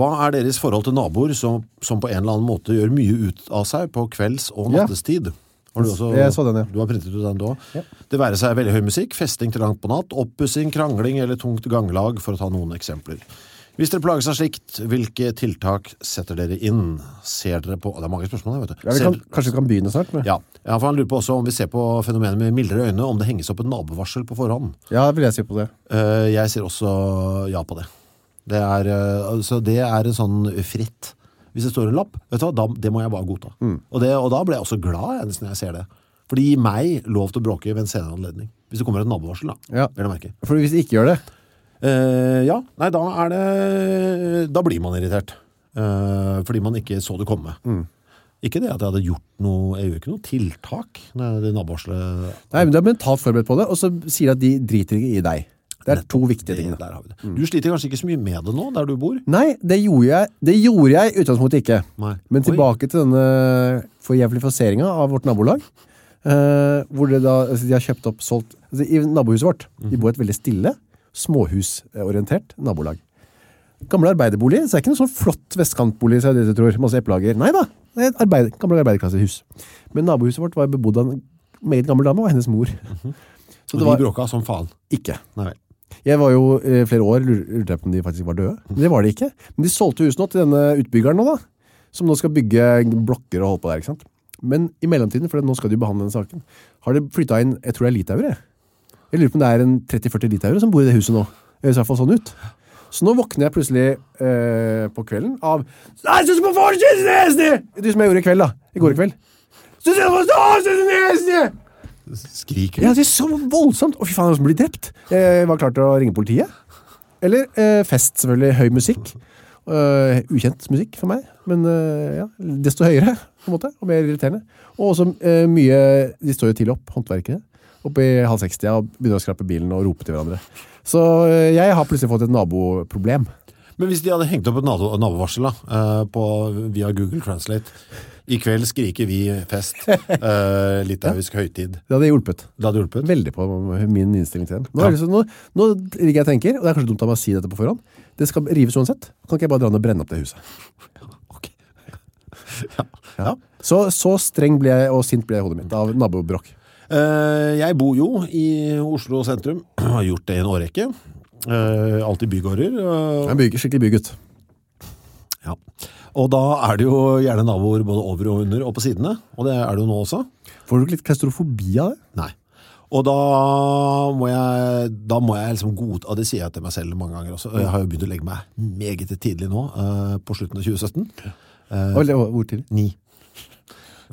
Hva er deres forhold til naboer som, som på en eller annen måte gjør mye ut av seg på kvelds- og
Ja.
nattestid? Har du, også,
Jeg så den, ja.
du har printet ut den du også?
Ja.
Det være seg veldig høy musikk, festing til langt på natt, oppussing, krangling eller tungt ganglag, for å ta noen eksempler. Hvis dere plages av slikt, hvilke tiltak setter dere inn? Ser dere på Det er mange spørsmål her, vet du.
Ja, vi
Ser-
kan, kanskje vi kan begynne snart? Med.
ja. ja, for han lurer på også om vi ser på fenomenet med mildere øyne, om det henges opp et nabovarsel på forhånd.
Ja, vil jeg si på det.
Eh, Jeg sier også ja på det. Det er, eh, altså, det er en sånn fritt. Hvis det står en lapp, vet du hva, da, det må jeg bare godta.
Mm.
Og, det, og da blir jeg også glad jeg, nesten når jeg ser det. For det gir meg lov til å bråke ved en senere anledning. Hvis det kommer et nabovarsel, da.
Ja.
Vil jeg merke.
For hvis de ikke gjør det,
Eh, ja, nei, da er det Da blir man irritert. Eh, fordi man ikke så det komme.
Mm.
Ikke det at jeg hadde gjort noe Jeg gjør ikke noe tiltak når det nabovarselet
nei, men du er mentalt forberedt på det, og så sier de at de driter ikke i deg. Det Mm. er to viktige ting.
det-
da.
Der har vi det. Du sliter kanskje ikke så mye med det nå, der du bor?
Nei, det gjorde jeg, det gjorde jeg i utgangspunktet ikke.
Nei.
Men
Oi.
tilbake til denne forjævlifiseringa av vårt nabolag. eh, hvor det da, altså de har kjøpt opp, solgt altså I nabohuset vårt.
Mhm.
Vi bor i et veldig stille, småhusorientert nabolag. Gamle arbeiderbolig. Så det er ikke noe sånn flott vestkantbolig, så er det det du tror. Masse eplehager. Nei da. Det er et arbeid, gamle arbeiderklassehus. Men nabohuset vårt var bebodd av en meget gammel dame og hennes mor. Så
Og
det var
de bråka som faen.
ikke.
Nei vel.
Jeg var jo eh, flere år lur- lurte jeg på om de faktisk var døde. Men det var de ikke. Men de solgte huset nå til denne utbyggeren nå da, som nå skal bygge blokker og holde på der, ikke sant? Men i mellomtiden, for nå skal de jo behandle denne saken, har det flyttet inn, jeg tror det er litauere. Jeg lurer på om det er en 30-40 litauere som bor i det huset nå. Det høres i hvert fall sånn ut. Så nå våkner jeg plutselig eh, på kvelden av «Nei, synes på folk, synes det er snill!» Det som jeg gjorde i kveld da, i går i kveld. «Synes jeg på folk, synes det er snill!»
Skriker.
Ja, det er så voldsomt. Å, fy faen, det er noen som blir drept. Jeg var klar til å ringe politiet. Eller eh, fest, selvfølgelig. Høy musikk. Øh, ukjent musikk for meg, men øh, ja, desto høyere, på en måte, og mer irriterende. Og også øh, mye, de står jo tidlig opp, håndverkere, oppe i halv 60 og begynner å skrape bilen og rope til hverandre. Så øh, jeg har plutselig fått et naboproblem.
Men hvis de hadde hengt opp et nabo- nabovarsel da, eh, på, via Google Translate, i kveld skriker vi fest, eh, litauisk høytid,
Det hadde hjulpet.
det hadde hjulpet.
Veldig på min innstilling til den. Nå, er det liksom- nå, nå ligger jeg og tenker, og det er kanskje dumt av meg å si dette på forhånd, det skal rives uansett. Kan ikke jeg bare dra ned og brenne opp det huset?
Ja.
Så, så streng ble jeg, og sint ble jeg i hodet mitt av nabobrokk.
Eh, jeg bor jo i Oslo sentrum, har gjort det i en årrekke. Eh, alltid bygårder.
Jeg
eh,
er en byg- skikkelig bygutt.
ja. Og da er det jo gjerne naboer både over og under og på sidene, og det er det jo nå også.
Får du ikke litt klaustrofobi av det?
Nei. Og da må jeg, da må jeg liksom godta, og det sier jeg til meg selv mange ganger også, og jeg har jo begynt å legge meg meget tidlig nå, eh, på slutten av 2017.
Oi, det var- hvor tidlig?
Ni.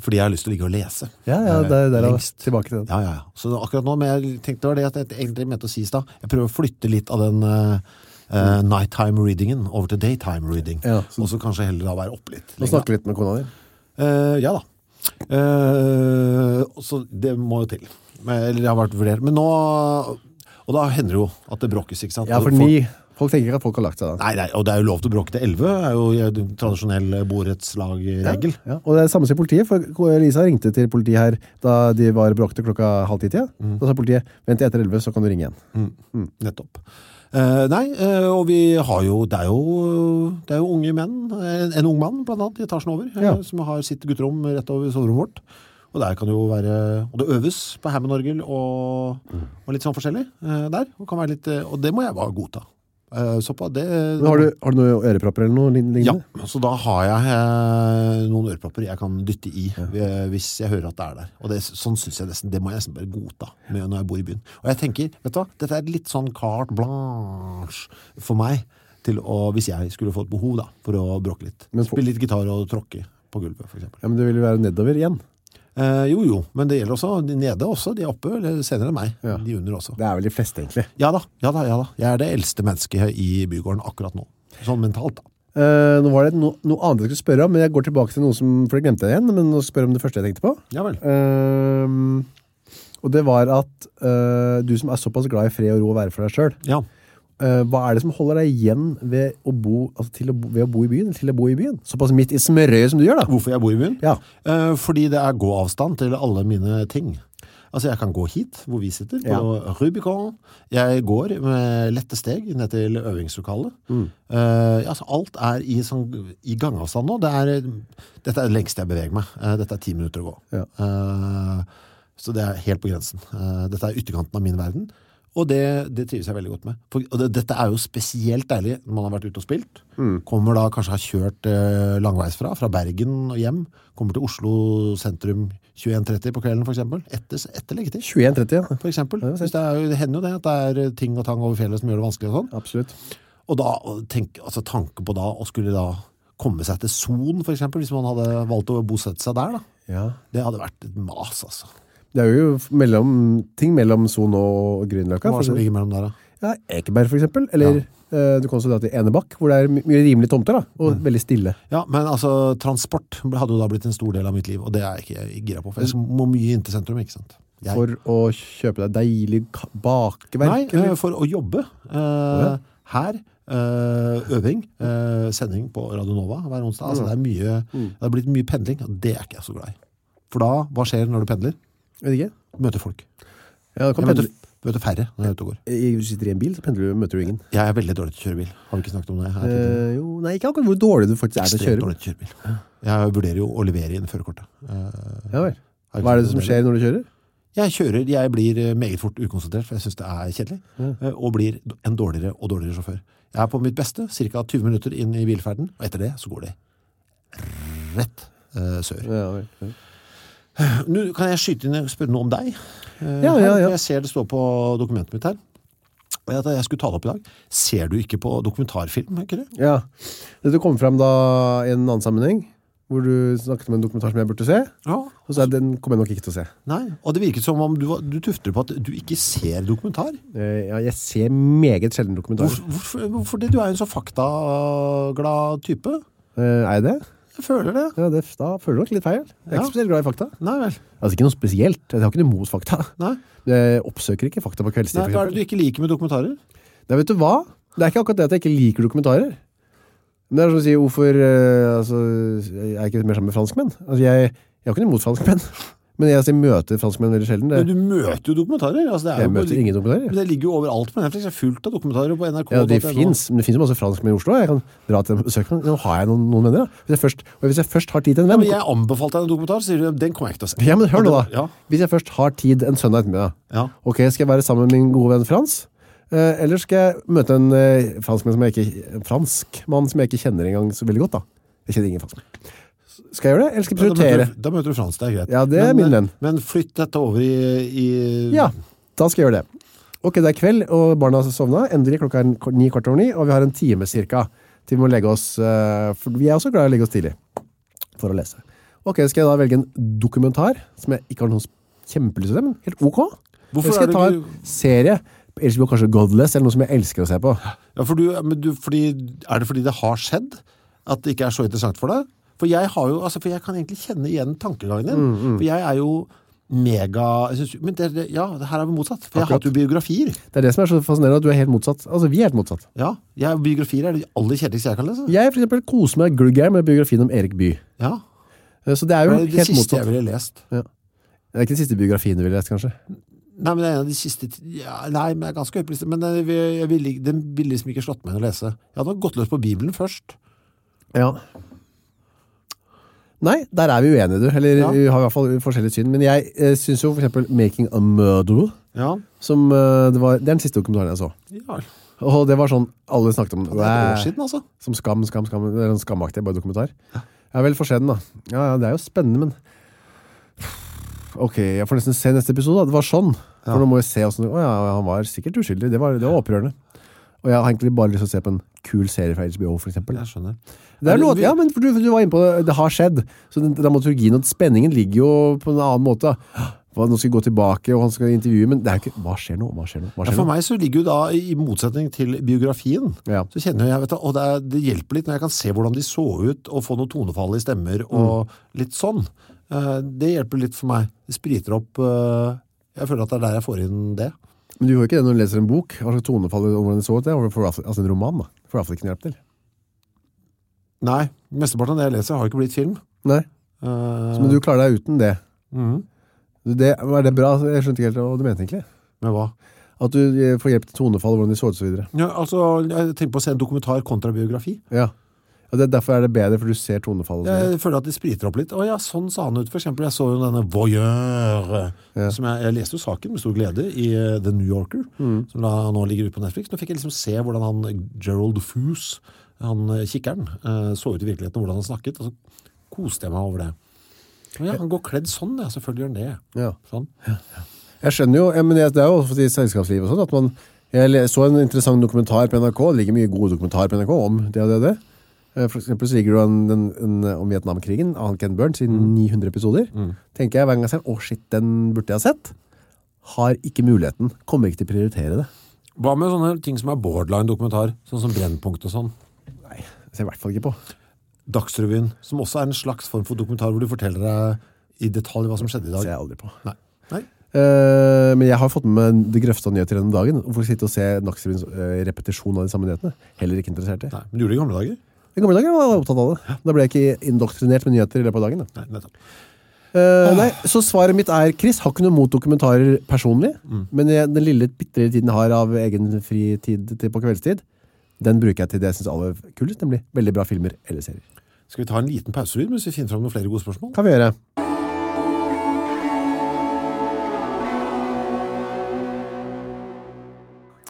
Fordi jeg har lyst til å ligge og lese.
Ja, ja,
Eh,
der, der er
lengst.
tilbake til den.
Ja, ja, ja. Så akkurat nå, men jeg tenkte det var det at jeg egentlig mente å si i stad. Jeg prøver å flytte litt av den eh, eh, nighttime readingen over til daytime reading.
Ja, så-
Og så kanskje heller da være opp litt.
Nå snakker vi litt med kona di.
Eh, ja da. Eh, så det må jo til. Men, eller det har vært vurdert. Men nå, og da hender det jo at det brokkes, ikke sant?
Ja,
Folk-
for ni, folk tenker ikke at folk har lagt seg da.
Nei, nei, og det er jo lov til å brokke til 11, er jo en tradisjonell borettslagregel.
Ja, og det er det samme som i politiet, for Lisa ringte til politiet her da de var bråkte klokka halv ti tida. Da sa politiet, vent til etter 11, så kan du ringe igjen.
Mm, Nettopp. Eh, nei, eh, og vi har jo, det er jo, det er jo unge menn, en, en ung mann blant annet i etasjen over, eh,
Ja.
som har sitt gutterom rett over soverommet vårt. Og der kan det jo være, og det øves på Hammond-orgel og,
Mm.
og litt sånn forskjellig eh, der. Og, kan være litt, eh, og det må jeg bare godta. Eh, så på det...
Men Har du, har du noen ørepropper eller noe lign-
Ja,
lignende?
så da har jeg eh, noen ørepropper jeg kan dytte i eh, hvis jeg hører at det er der. Og det, sånn synes jeg nesten, det må jeg nesten bare godta med, når jeg bor i byen. Og jeg tenker, vet du hva, dette er litt sånn carte blanche for meg, til å, hvis jeg skulle få et behov da, for å bråke litt.
Men for-
Spille litt gitar og tråkke på gulvet, for eksempel.
Ja, men du vil jo være nedover igjen.
Eh, jo, jo, men det gjelder også de nede også, de oppe, eller senere enn meg, de under også.
Det er vel de fleste egentlig.
Ja da, ja da, ja da. Jeg er det eldste mennesket i bygården akkurat nå. Sånn mentalt da.
Eh, nå var det no, noe annet jeg skulle spørre om, men jeg går tilbake til noe som, for det glemte jeg igjen, men nå skal jeg spørre om det første jeg tenkte på.
Ja vel.
Eh, og det var at eh, du som er såpass glad i fred og ro og være for deg selv,
Ja.
Eh, hva er det som holder deg igjen ved å bo, altså til å, bo- ved å bo i byen? Til å bo i byen? Såpass midt i smørøyet som du gjør, da.
Hvorfor jeg bor i byen?
Ja.
Eh, Fordi det er gåavstand til alle mine ting. Altså, jeg kan gå hit, hvor vi sitter, på Rubicon. Jeg går med lette steg ned til øvingslokalet. Eh, altså, alt er i, sånn, i gangavstand nå. Det er, dette er det lengste jeg beveger meg. Eh, dette er ti minutter å gå.
Ja.
Eh, så det er helt på grensen. Eh, dette er ytterkanten av min verden. Og det, det trives jeg veldig godt med. For, og det, dette er jo spesielt deilig når man har vært ute og spilt.
Mm.
Kommer da, kanskje har kjørt eh, langveisfra, fra Bergen og hjem. Kommer til Oslo sentrum 21.30 på kvelden, for eksempel. Etter, etter leggetid,
21.30, ja.
for eksempel.
Ja, det er sant.
Hvis det, er, jo- det hender jo det at det er eh, ting og tang over fjellet som gjør det vanskelig og sånn.
Absolutt.
Og da, og tenk, altså tanken på da, å skulle da komme seg til Son, for eksempel, hvis man hadde valgt å bosette seg der, da.
Ja.
Det hadde vært et mas, altså.
Det er jo mellom, ting mellom Son og Grünerløkka.
Hva er
for
det som
eksempel.
ligger mellom der, da?
Ja, Ekeberg, for eksempel. Eller eh, du kan også dra til Enebakk, hvor det er my- mye rimelige tomter, da. Og
Mm.
veldig stille.
Ja, men altså, transport hadde jo da blitt en stor del av mitt liv, og det er jeg ikke gira på, for jeg må mye inn til sentrum, ikke sant? Jeg,
Mm. For å kjøpe deg deilig ka-
nei,
bakeverk.
eh,
eller-
for å jobbe eh, her, eh, øving, eh, sending på Radio Nova hver onsdag,
Mm.
altså det er mye, det har blitt mye pendling, og det er ikke jeg så glad i. For da, hva skjer når du pendler?
Vet ikke.
Møter folk.
eh, Ja, du kan
Jeg møter,
pendle.
møter færre når jeg er ute og går.
I- eh, Du sitter i en bil, så pendler du, møter du ingen.
Jeg er veldig dårlig til å kjøre bil. Har vi ikke snakket om det? her tidligere?
Eh, jo, nei, ikke akkurat hvor dårlig du faktisk er til å
Ekstremt
kjøre.
dårlig til å kjøre bil. Jeg vurderer jo å levere inn førerkortet. Eh,
Ja, vel.
har ikke
Hva er det
snakket om
som skjer når du kjører?
Jeg kjører, jeg blir eh, meget fort ukonsentrert, for jeg synes det er kjedelig,
Mm.
eh, og blir d- en dårligere og dårligere sjåfør. Jeg er på mitt beste, cirka 20 minutter inn i bilferden, og etter det så går det rett eh, sør.
Ja, vel. Ja.
Nå kan jeg skyte inn og spørre noe om deg. eh,
Mm. Ja, ja,
her,
ja.
for Jeg ser det står på dokumentet mitt her, og at jeg skulle ta det opp i dag. Ser du ikke på dokumentarfilm, ikke det?
Ja, dette kom frem da i en annen sammenheng hvor du snakket om en dokumentar som jeg burde se,
Ja.
og så er den kommer jeg nok ikke til å se.
Nei, og det virket som om du, var- du tufter på at du ikke ser dokumentar.
Eh, ja, jeg ser meget sjelden dokumentarer.
Hvorfor, hvorfor, hvorfor det? Du er jo en så faktaglad type.
Eh, er jeg det?
Jeg føler det.
Ja, det? Da føler du nok litt feil. Jeg er
Ja.
ikke spesielt glad i fakta.
Nei vel.
Altså ikke noe spesielt. Jeg har ikke noe mot fakta.
Nei.
Jeg oppsøker ikke fakta på kveldstid,
Nei,
for
hva er det
eksempel.
du ikke liker med dokumentarer?
Nei, vet du hva? Det er ikke akkurat det at jeg ikke liker dokumentarer. Men det er som å si, hvorfor eh, altså, Jeg er ikke mer sammen med franskmenn. Altså, jeg, jeg har ikke noe imot franskmenn. Men jeg, altså, jeg møter franskmenn veldig sjelden.
Men
Det,
du møter jo dokumentarer. Altså, det er
jeg
jo
møter ingen dokumentarer.
Men det ligger jo overalt på Netflix. Det er fullt av dokumentarer på NRK.
Ja, de finnes, men det finnes jo masse franskmenn i Oslo. Jeg kan dra til dem og besøke dem. Nå har jeg noen, noen venner, da. Hvis jeg først, og hvis jeg først har tid til en
Ja,
venn
men jeg anbefalte deg en dokumentar, så sier du den kommer jeg ikke til å se.
Ja, men hør nå, da.
Ja.
Hvis jeg først har tid en søndag ettermiddag,
Ja.
ok, skal jeg være sammen med min gode venn Frans? Eh, eller skal jeg møte en eh, franskmann som jeg ikke, en fransk mann som jeg ikke kjenner engang så veldig godt, da? Jeg kjenner ingen franskmann. Skal jeg gjøre det, eller skal jeg
Da møter,
prioritere?
du, da møter du Frans, det er greit.
Ja, det er
men,
min venn.
Men flytt dette over i, i
Ja, da skal jeg gjøre det. Ok, det er kveld, og barna har sovna. Endelig klokka er k- ni kvart over ni, og vi har en time cirka til vi må legge oss, eh, for vi er også glad i å legge oss tidlig for å lese. Ok, skal jeg da velge en dokumentar, som jeg ikke har noen kjempelyst til, men helt ok.
Hvorfor
Hvorfor skal
er
jeg
det
ta
ikke-
en serie, ellers blir det kanskje Godless, eller noe som jeg elsker å se på.
Ja, for du, men du, fordi, er det fordi det har skjedd at det ikke er så interessant for deg? For jeg, har jo, altså, for jeg kan egentlig kjenne igjen tankegangen din.
Mm,
For jeg er jo mega... Jeg synes, men det, det, ja, det her er vi motsatt. For jeg har
Akkurat.
hatt jo biografier.
Det er det som er så fascinerende, at du er helt motsatt. Altså, vi er helt motsatt.
Ja, jeg, biografier er det aller kjedeligste jeg kan lese.
Jeg for eksempel koser meg glugger med biografien om Erik By.
Ja,
Eh, Så det er
det
jo
er det
helt
siste jeg
motsatt.
ville lest.
Det er ikke den siste biografien du vil lese, kanskje?
Nei, men det er en av de siste... Ja, nei, men det er ganske høyt på listen, Men den vil, jeg vil, den vil liksom ikke slått meg inn å lese. Jeg hadde gått løs på Bibelen først.
Ja. Nei, der er vi uenige, du. Eller
Ja.
vi har i hvert fall forskjellige syn. Men jeg eh, synes jo for eksempel Making a Murderer,
Ja,
som eh, det var, det er den siste dokumentaren jeg så.
ja.
Og det var sånn, alle snakket om.
det er et år siden altså.
Som skam, skam, skam. Det er en skamaktig bare dokumentar. Ja, vel, få se den da. Ja, ja, det er jo spennende, men... Ok, jeg får nesten se neste episode da. Det var sånn. For nå må jeg se hvordan... Å ja, han var sikkert uskyldig. Det var, det var opprørende. Og jeg har egentlig bare lyst til å se på en kul serie fra HBO, for eksempel.
Jeg skjønner.
Det er
Men
noe,
vi-
ja, men for du, for du var inne på det, det har skjedd. Så den dramaturgien og spenningen ligger jo på en annen måte. Hva, nå skal vi gå tilbake, og han skal intervjue, men det er jo ikke... Hva skjer nå? Hva skjer nå? Hva
Ja,
skjer
for
nå?
meg så ligger jo da, i motsetning til biografien,
Ja.
så kjenner jeg, vet du, og det, er, det hjelper litt når jeg kan se hvordan de så ut, og få noen tonefall i stemmer, og litt sånn. Eh, Det hjelper litt for meg. Det spriter opp. eh, Jeg føler at det er der jeg får inn det.
Men du gjør ikke det når du leser en bok. Hva slags tonefall og hvordan det så ut det? For, altså en roman, da. For det ikke noe hjelp til.
Nei, mesteparten av det jeg leser har jo ikke blitt film.
Nei. Mm-hmm.
Eh,
Men du klarer deg uten det.
mhm.
Du, det er det bra? Jeg skjønte ikke helt hva du mente, egentlig.
Men hva?
At du eh, får hjelp til tonefall, hvordan de så ut, og så videre.
Ja, altså, jeg tenker på å se en dokumentar kontra biografi.
Ja. ja det, derfor er det bedre, for du ser tonefall. Og så videre.
Jeg føler at det spriter opp litt. Å ja, sånn sa han ut. For eksempel, jeg så jo denne Voyeur, eh,
Ja.
som jeg, jeg leste jo saken med stor glede i eh, The New Yorker, som da nå ligger ute på Netflix. Nå fikk jeg liksom se hvordan han, Gerald Foos, han eh, kikkeren, eh, så ut i virkeligheten, og hvordan han snakket, og så koste jeg meg over det. Å ja, han går kledd sånn, ja, selvfølgelig gjør han det.
Ja.
Sånn.
Jeg skjønner jo, ja, men jeg, det er jo ofte i selskapslivet og sånn, at man jeg le- så en interessant dokumentar på NRK, det ligger mye gode dokumentarer på NRK om det og det og det. Eh, For eksempel så ligger det jo en, en, en om Vietnamkrigen, av Ken Burns, i 900 episoder. Tenker jeg hver gang jeg ser, den, å shit, den burde jeg ha sett. Har ikke muligheten, kommer ikke til å prioritere det.
Hva med sånne ting som er borderline-dokumentar, sånn som Brennpunkt og sånn?
Nei, det ser jeg i hvert fall ikke på.
Dagsrevyen, som også er en slags form for dokumentar hvor du forteller deg i detalj hva som skjedde i
Det ser
dag.
jeg aldri på.
Nei. Nei.
Eh, men jeg har fått med meg det grøfte av nyheter gjennom dagen. Hvorfor sitte og se Dagsrevyens eh, repetisjon av de samme nyhetene? Heller ikke interessert i.
Nei, men du gjorde det i gamle dager.
I gamle dager var jeg opptatt av det. Da ble jeg ikke indoktrinert med nyheter i løpet av dagen. Da.
Nei, nettopp.
Eh, nei, så svaret mitt er, Chris, har ikke noe mot dokumentarer personlig, men jeg, den lille, bittere tiden jeg har av egen fritid til på kveldstid, den bruker jeg til det jeg synes er aller kulest, nemlig veldig bra filmer eller serier.
Skal vi ta en liten pauseryd mens vi finner fram noen flere gode spørsmål?
Kan vi gjøre.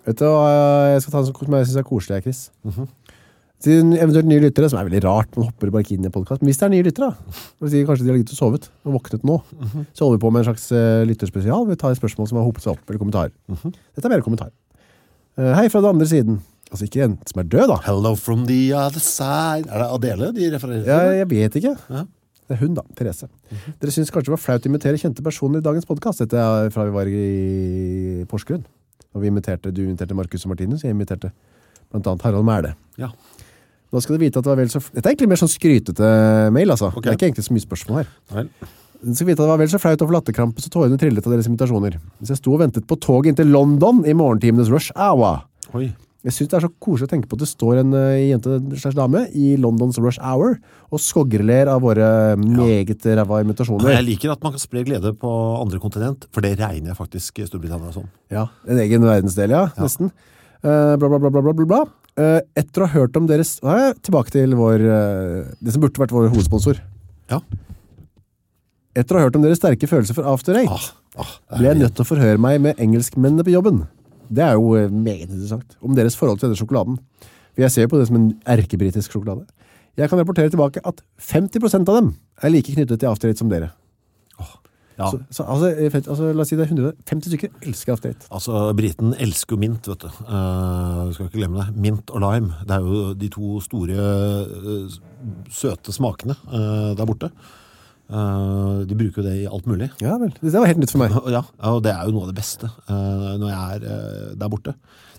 Vet du hva, jeg skal ta en som som jeg synes er koselig, Chris. Til eventuelt nye lyttere, som er veldig rart, man hopper bare ikke inn i en podcast, men hvis det er nye lyttere, da, og sier kanskje de har ligget og sovet, og våknet nå, så holder vi på med en slags eh, lytterspesial, vi tar et spørsmål som har hopet seg opp, eller kommentar. Dette er mer kommentar. Eh, hei fra den andre siden. Altså ikke en som er død, da.
Hello from the other side. Er det Adele de refererer til?
Jeg, jeg vet ikke.
Ja. Mhm.
Det er hun, da. Therese. Dere syns kanskje det var flaut å invitere kjente personer i dagens podkast? Dette er fra vi var i Porsgrunn. Og vi inviterte, du inviterte Marcus og Martinus, jeg inviterte blant annet Harald Mæhle.
Ja.
Nå skal du vite at det var vel så... Dette er egentlig mer sånn skrytete mail, altså.
Ok.
Det er ikke egentlig så mye spørsmål her.
Vel.
Du skal vite at det var vel så flaut å få latterkrampe så tårene trillet av deres invitasjoner. Så jeg sto og ventet på toget inn til London i morgentimenes rush hour.
Oi.
Jeg synes det er så koselig å tenke på at det står en eh, jente slags dame i Londons rush hour og skoggerler av våre eh, meget
Og
ræva invitasjoner.
jeg liker at man kan spre glede på andre kontinent, for det regner jeg faktisk Storbritannia som.
Ja, en egen verdensdel, ja, nesten. Eh, bla, bla, bla, bla, bla, bla, bla. Eh, etter å ha hørt om deres... Nå er jeg tilbake til vår, eh, det som burde vært vår hovedsponsor.
Ja.
Etter å ha hørt om deres sterke følelser for After Eight,
Ah, ah,
ble jeg nødt til å forhøre meg med engelskmennene på jobben. Det er jo eh, meget interessant. Om deres forhold til denne sjokoladen. For jeg ser jo på det som en erkebritisk sjokolade. Jeg kan rapportere tilbake at 50 av dem er like knyttet til After Eight som dere.
ja.
Så, så, altså, eh, fem- altså, la oss si det er 100. 50 stykker elsker After Eight.
Altså, briten elsker jo mint, vet du. Eh, du skal ikke glemme det. Mint og lime, det er jo de to store eh, s- søte smakene eh, der borte. Eh, de bruker jo det i alt mulig.
Ja vel. Det var helt nytt for meg.
Og Ja, og det er jo noe av det beste eh, når jeg er eh, der borte.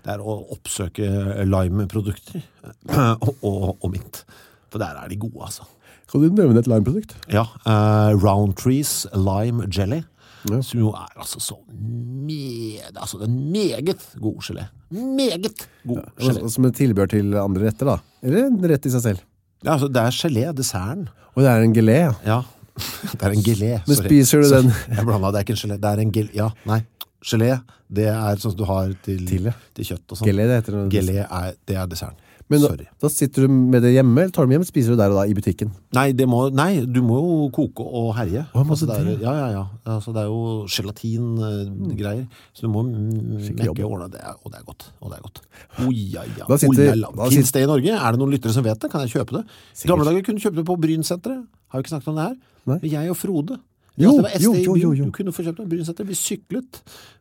Det er å oppsøke lime-produkter og, og, og mint. For der er de gode, altså.
Kan du nevne et limeprodukt?
Ja, eh, Round Trees Lime Jelly,
Ja.
som jo er altså så med, altså det er en meget god gelé. Meget god gelé.
Altså, Som et tilbehør til andre retter, da. Eller en rett i seg selv.
Ja, altså, det er gelé, desserten.
Og det er en gelé, ja.
Ja, det er en gelé.
Men
sorry.
spiser du
Sorry,
den?
Jeg blanda, det er ikke en gelé, det er en gelé. Ja, nei, gelé, det er sånn som du har til,
Til, ja.
til kjøtt og sånn.
Gelé, det heter det.
Gelé er, det er desserten.
Men da,
Sorry.
da sitter du med det hjemme, eller tar du det hjem, spiser du der og da i butikken.
Nei, det må, nei, du må jo koke og herje.
Å, må du
det er, ja, ja, ja. Altså, det er jo gelatin-greier, så du må mm,
Skikkelig jobb.
mekke og ordne det, er- og det er godt. Og det er godt. Oi, ja, ja.
Da sitter-
Oi, la, la.
da
Finnes det i Norge? Er det noen lyttere som vet det? Kan jeg kjøpe det? I
Sikkert.
gamle dager kunne du kjøpe det på Brynsenteret. Har vi ikke snakket om det her?
Nei.
Men Jeg og Frode.
Jo,
Altså, det var SD
jo,
i
jo, jo,
byen.
jo.
Du kunne få kjøpt det på Brynsenteret. Vi syklet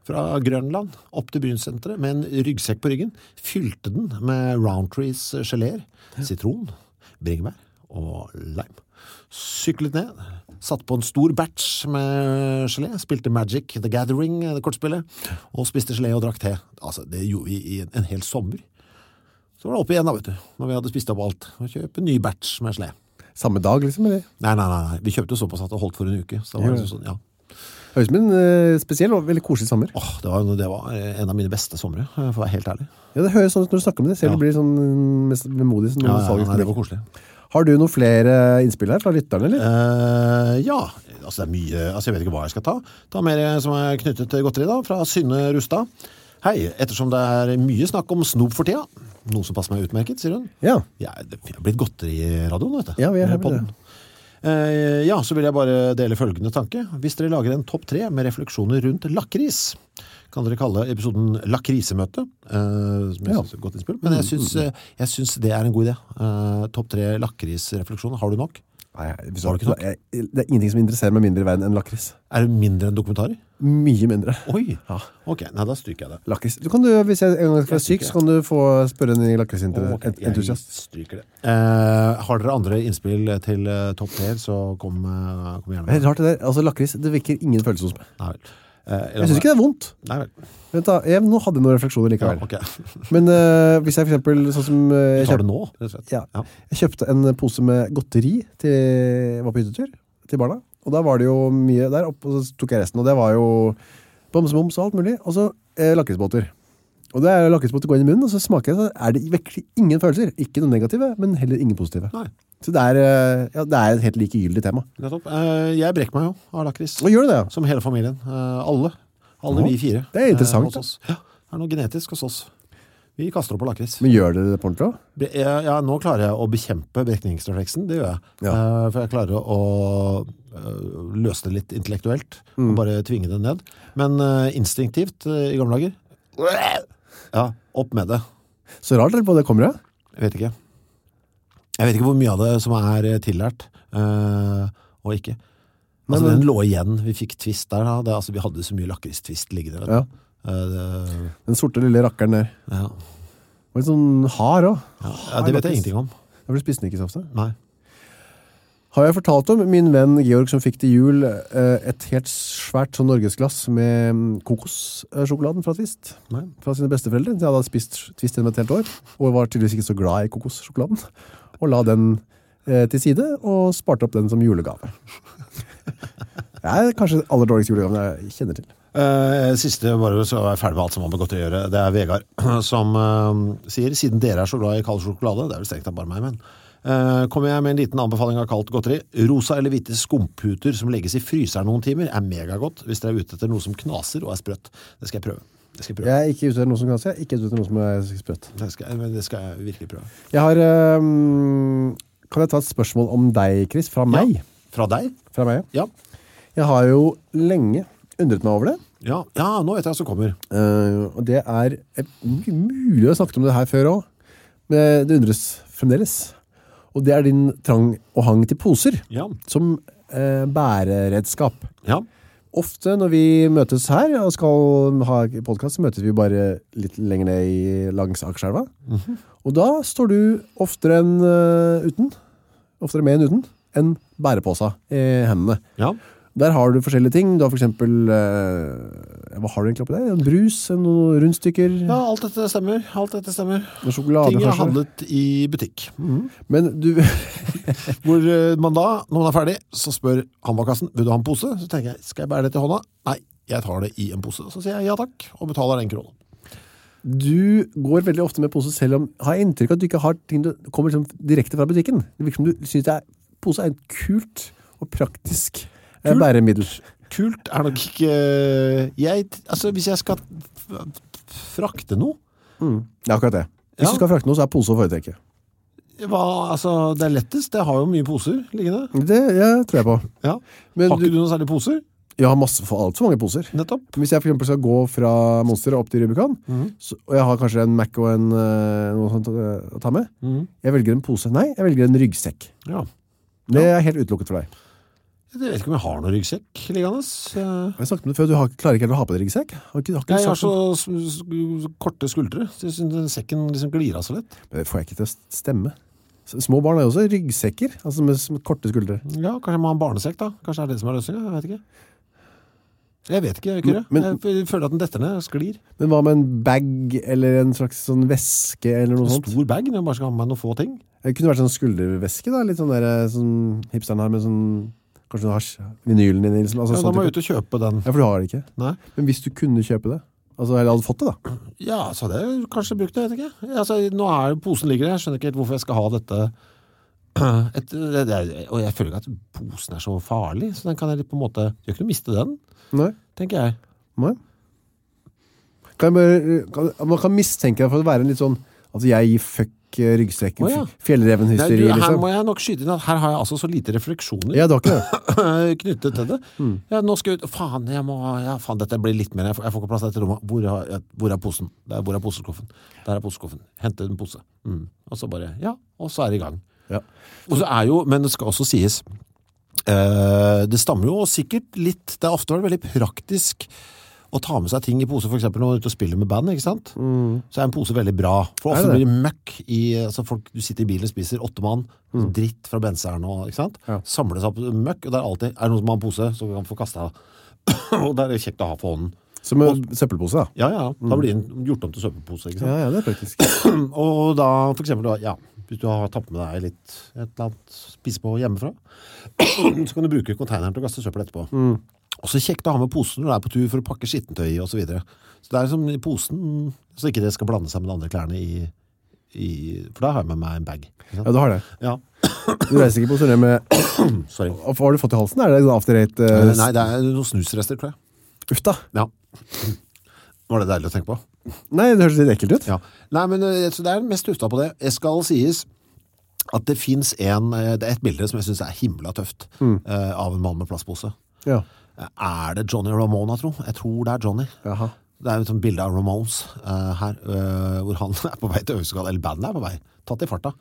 fra Grønland opp til Brynsenteret med en ryggsekk på ryggen, fylte den med Roundtrees geléer, sitron, bringebær og lime. Syklet ned, satt på en stor batch med gelé, spilte Magic, The Gathering, det kortspillet, og spiste gelé og drakk te. Altså, det gjorde vi i en, en hel sommer. Så var det opp igjen da, vet du, når vi hadde spist opp alt, og kjøpe en ny batch med gelé.
Samme dag, liksom, eller?
Nei, nei, nei, nei. vi kjøpte jo såpass at det holdt for en uke, så det var
Ja.
liksom sånn, ja.
Høres ut som en eh, spesiell og veldig koselig sommer.
Åh, det var, det var eh, en av mine beste somre, eh, for å være helt ærlig.
Ja, det høres sånn ut når du snakker om det, selv
Ja.
om du blir sånn mm, mest vemodig. Sånn,
Ja,
nostalgisk.
nei, det var koselig.
Har du noen flere eh, innspill her fra lytterne, eller?
Eh, ja, altså det er mye, altså jeg vet ikke hva jeg skal ta. Ta mer eh, som er knyttet til godteri da, fra Synne Rustad. Hei, ettersom det er mye snakk om snob for tida, noe som passer meg utmerket, sier hun.
Ja.
Jeg, det jeg har blitt godteriradioen, vet du.
Ja, vi er her
Med
med
podden. Eh, ja, så vil jeg bare dele følgende tanke. Hvis dere lager en topp tre med refleksjoner rundt lakris, kan dere kalle episoden Lakrisemøte, eh, som jeg
Ja. Mm.
synes er et godt innspill. Men jeg synes, eh, jeg synes det er en god idé. Eh, topp tre lakrisrefleksjoner, har du nok?
Nei, hvis
Har du ikke nok?
jeg, det er ingenting som interesserer meg mindre i verden enn lakris.
Er det mindre enn dokumentarer?
Mye mindre.
Oi!
Ja.
Ok, nei, da stryker jeg det.
Lakris. Du kan du, hvis jeg en gang skal være syk, så kan du få spørre en
Å, ok, jeg
lakrisentusiast.
stryker det. Eh, har dere andre innspill til eh, topp tre, så kom, eh, kom gjerne
Det
med.
er Rart det der. Altså, lakris, det vekker ingen følelse hos meg.
Nei vel. Eh,
Jeg synes ikke det er vondt.
Nei vel.
Vent da, jeg, nå hadde jeg noen refleksjoner
Ja,
likevel.
ok.
Men øh, hvis jeg for eksempel sånn som, øh, jeg,
Tar
kjøpt,
det nå, rett og slett.
ja,
Ja.
jeg kjøpte en pose med godteri til jeg var på hyttetur til barna, og da var det jo mye der oppe, og så tok jeg resten, og det var jo bomseboms og alt mulig, og så eh, lakrisbåter. Og det er lakrisbåter går inn i munnen, og så smaker jeg, så er det virkelig ingen følelser. Ikke noen negative, men heller ingen positive.
Nei,
Så det er, øh, ja, det er et helt likegyldig tema.
nettopp. Eh, Jeg brekker meg jo av lakris,
Og gjør det altså. det, ja.
som hele familien. Eh, Alle. Alle
Ja,
vi fire.
det er interessant,
eh, hos oss. Ja, det er noe genetisk hos oss. Vi kaster opp på lakris.
Men gjør det det på ordentlig også?
Bre- Ja, ja, nå klarer jeg å bekjempe brekningsrefleksen, det gjør jeg.
Ja.
Eh, For jeg klarer å eh, løse det litt intellektuelt, og bare tvinge det ned. Men eh, instinktivt eh, i gamle dager, ja, opp med det.
Så rart eller på det kommer det?
Jeg vet ikke. Jeg vet ikke hvor mye av det som er eh, tillært, eh, og ikke. Altså,
men-
den lå igjen. Vi fikk tvist der. Da. Det, altså, vi hadde så mye lakristvist liggende. vet du.
Ja.
Eh, det-
Den sorte lille rakkeren der.
ja.
Og en sånn hard òg.
Ja, det vet jeg ingenting om.
For du spiste den ikke så ofte.
Nei.
Har jeg fortalt om min venn Georg som fikk til jul eh, et helt svært sånn norgesglass med mm, kokossjokoladen fra Twist?
Nei.
Fra sine besteforeldre. De hadde spist Twist gjennom et helt år, og var tydeligvis ikke så glad i kokossjokoladen. Og la den eh, til side, og sparte opp den som julegave. Det er kanskje den aller dårligste julegaven jeg kjenner til.
Eh, siste bare så er jeg ferdig med alt som har med godt å gjøre. Det er Vegard som eh, sier, siden dere er så glad i kald sjokolade, det er vel strengt tatt bare meg, men eh, kommer jeg med en liten anbefaling av kaldt godteri. Rosa eller hvite skumputer som legges i fryseren noen timer er megagodt hvis dere er ute etter noe som knaser og er sprøtt. Det skal jeg prøve. Det skal jeg prøve.
Jeg er ikke ute etter noe som kan se, ikke ute etter noe som er sprøtt.
Det skal, jeg- det skal jeg virkelig prøve.
Jeg har, eh, kan jeg ta et spørsmål om deg, Chris, fra meg?
Ja. Fra deg?
Fra meg, ja.
Ja.
Jeg har jo lenge undret meg over det.
Ja, ja nå vet jeg hva som kommer.
Eh, og det er eh, mye mulig å snakke om det her før også, men det undres fremdeles. Og det er din trang og hang til poser,
Ja.
som eh, bæreredskap.
Ja.
Ofte når vi møtes her og skal ha podcast, så møtes vi bare litt lenger ned i, langs Akerselva. Og da står du oftere, enn, eh, uten, oftere med enn uten, en bærepåsa i hendene.
Ja.
Der har du forskjellige ting. Du har for eksempel eh, Hva har du egentlig oppi der? En brus, noen rundstykker,
ja, alt dette stemmer. Alt dette stemmer.
noen sjokolade
Ting jeg har
kanskje.
handlet i butikk.
Men du
Hvor eh, man da, når man er ferdig, så spør han bak kassen, vil du ha en pose? Så tenker jeg, skal jeg bære det til hånda? Nei, jeg tar det i en pose. Så sier jeg ja takk, og betaler den kronen.
Du går veldig ofte med pose selv om Har jeg inntrykk av at du ikke har ting du kommer liksom direkte fra butikken? Det virker som du syns pose er et kult og praktisk eh,
Kult.
bæremiddel.
Kult er nok ikke eh, jeg, Altså, hvis jeg skal f- frakte noe
Det er akkurat det. Hvis
Ja.
du skal frakte noe, så er pose å foretrekke.
hva, altså, Det er lettest. Jeg har jo mye poser liggende.
Det ja, tror jeg på.
Ja.
Men
har
du-
ikke du noen særlig poser?
Jeg har masse for altfor mange poser.
Nettopp.
Hvis jeg for eksempel skal gå fra Monster og opp til Rubicon, så, og jeg har kanskje en Mac og en, eh, noe sånt eh, å ta med, jeg velger en pose. Nei, jeg velger en ryggsekk.
Ja.
Det er helt utelukket for deg.
Jeg vet ikke om jeg har noen ryggsekk liggende. Eh,
Jeg snakket med deg før, du har, klarer ikke helt å ha på deg ryggsekk. Har ikke, har ikke
Jeg har
sagt
så
om-
s- s- korte skuldre, så jeg synes den sekken liksom glir av så lett.
Men det får jeg ikke til å stemme. S- Små barn har jo også ryggsekker, altså med, med korte skuldre.
Ja, kanskje jeg må ha en barnesekk da Kanskje det er det som er løsningen, jeg vet ikke Jeg vet ikke, Kyrre
Men-
Jeg føler at den detter ned, sklir
Men hva med en bag, eller en slags sånn veske, eller noe
En
sånt?
stor bag, når jeg bare skal ha med meg noen få ting
Det kunne vært sånn skulderveske, da, litt sånn der eh, sånn hipsteren har, med sånn, kanskje noe hasj, vinylen din, liksom. altså,
ja, Da
sånn
må jeg
type.
ut og kjøpe den
Ja, for du har det ikke.
Nei.
Men hvis du kunne kjøpe det, altså, eller hadde fått det da,
Ja, så hadde jeg kanskje brukt det, jeg vet ikke altså, Nå er posen ligger der, jeg skjønner ikke helt hvorfor jeg skal ha dette Et, det, det, Og jeg føler ikke at posen er så farlig Så den kan jeg litt på en måte Jeg kan ikke noe miste den,
Nei.
tenker jeg
Nei. Kan jeg bare, kan, man kan mistenke deg for å være en litt sånn Altså, jeg gir fuck eh, ryggsekken,
Å, ja.
f- fjellrevenhysteri,
Nei, du, Her
liksom.
må jeg nok skyte inn at Her har jeg altså så lite refleksjoner
Ja, du har ikke det.
knyttet til det. Ja, nå skal jeg ut. Faen, jeg må, ja, faen, dette blir litt mer. Jeg får, jeg får ikke plass til dette rommet. Hvor, har, jeg- hvor er posen? Der, hvor er poseskuffen? Der er poseskuffen. Hente en pose. Mm. Og så bare, ja, og så er det i gang.
Ja.
Og så er jo, men det skal også sies, eh, det stammer jo sikkert litt, det er ofte vært veldig praktisk å ta med seg ting i pose, for eksempel når man er ute og spiller med band, ikke sant? Så er en pose veldig bra. For
Mm. Er det
ofte
det?
blir det møkk i, altså folk, du sitter i bilen og spiser åtte mann, dritt fra benseren og, ikke sant?
Mm. Ja.
Samles opp møkk, og det er alltid, er det noen som har en pose, så kan man få kastet av. og det er det kjekt å ha for hånden.
Som en søppelpose, da.
Ja, ja,
Mm.
da blir den gjort om til søppelpose, ikke sant?
Ja, ja, det er praktisk.
Og da, for eksempel, da, ja, hvis du har tatt med deg litt, et eller annet spise på hjemmefra, så kan du bruke konteineren til å kaste søppel etterpå. Også kjekt å ha med posen når du er på tur for å pakke skittentøy og så videre. Så det er som i posen, så ikke det skal blande seg med de andre klærne i, i for da har jeg med meg en bag. ikke sant?
Ja, du har det.
Ja,
Du reiser ikke på turné med
sorry.
Hva har du fått i halsen? Er det en after eight? eh,
Nei, det er noen snusrester, tror jeg.
Uff, da.
Ja. Var det deilig å tenke på?
Nei, det høres litt ekkelt ut.
Ja. Nei, men eh, så det er mest tufta på det. Jeg skal sies at det finnes en, eh, det er et bilde som jeg synes er himla tøft, eh, av en mann med plastpose.
Ja.
Eh, Er det Johnny Ramona, tro? Jeg tror det er Johnny.
Jaha.
Det er et sånt bilde av Ramones eh, her, eh, hvor han er på vei til øvelseskall, eller bandet er på vei, tatt i farta,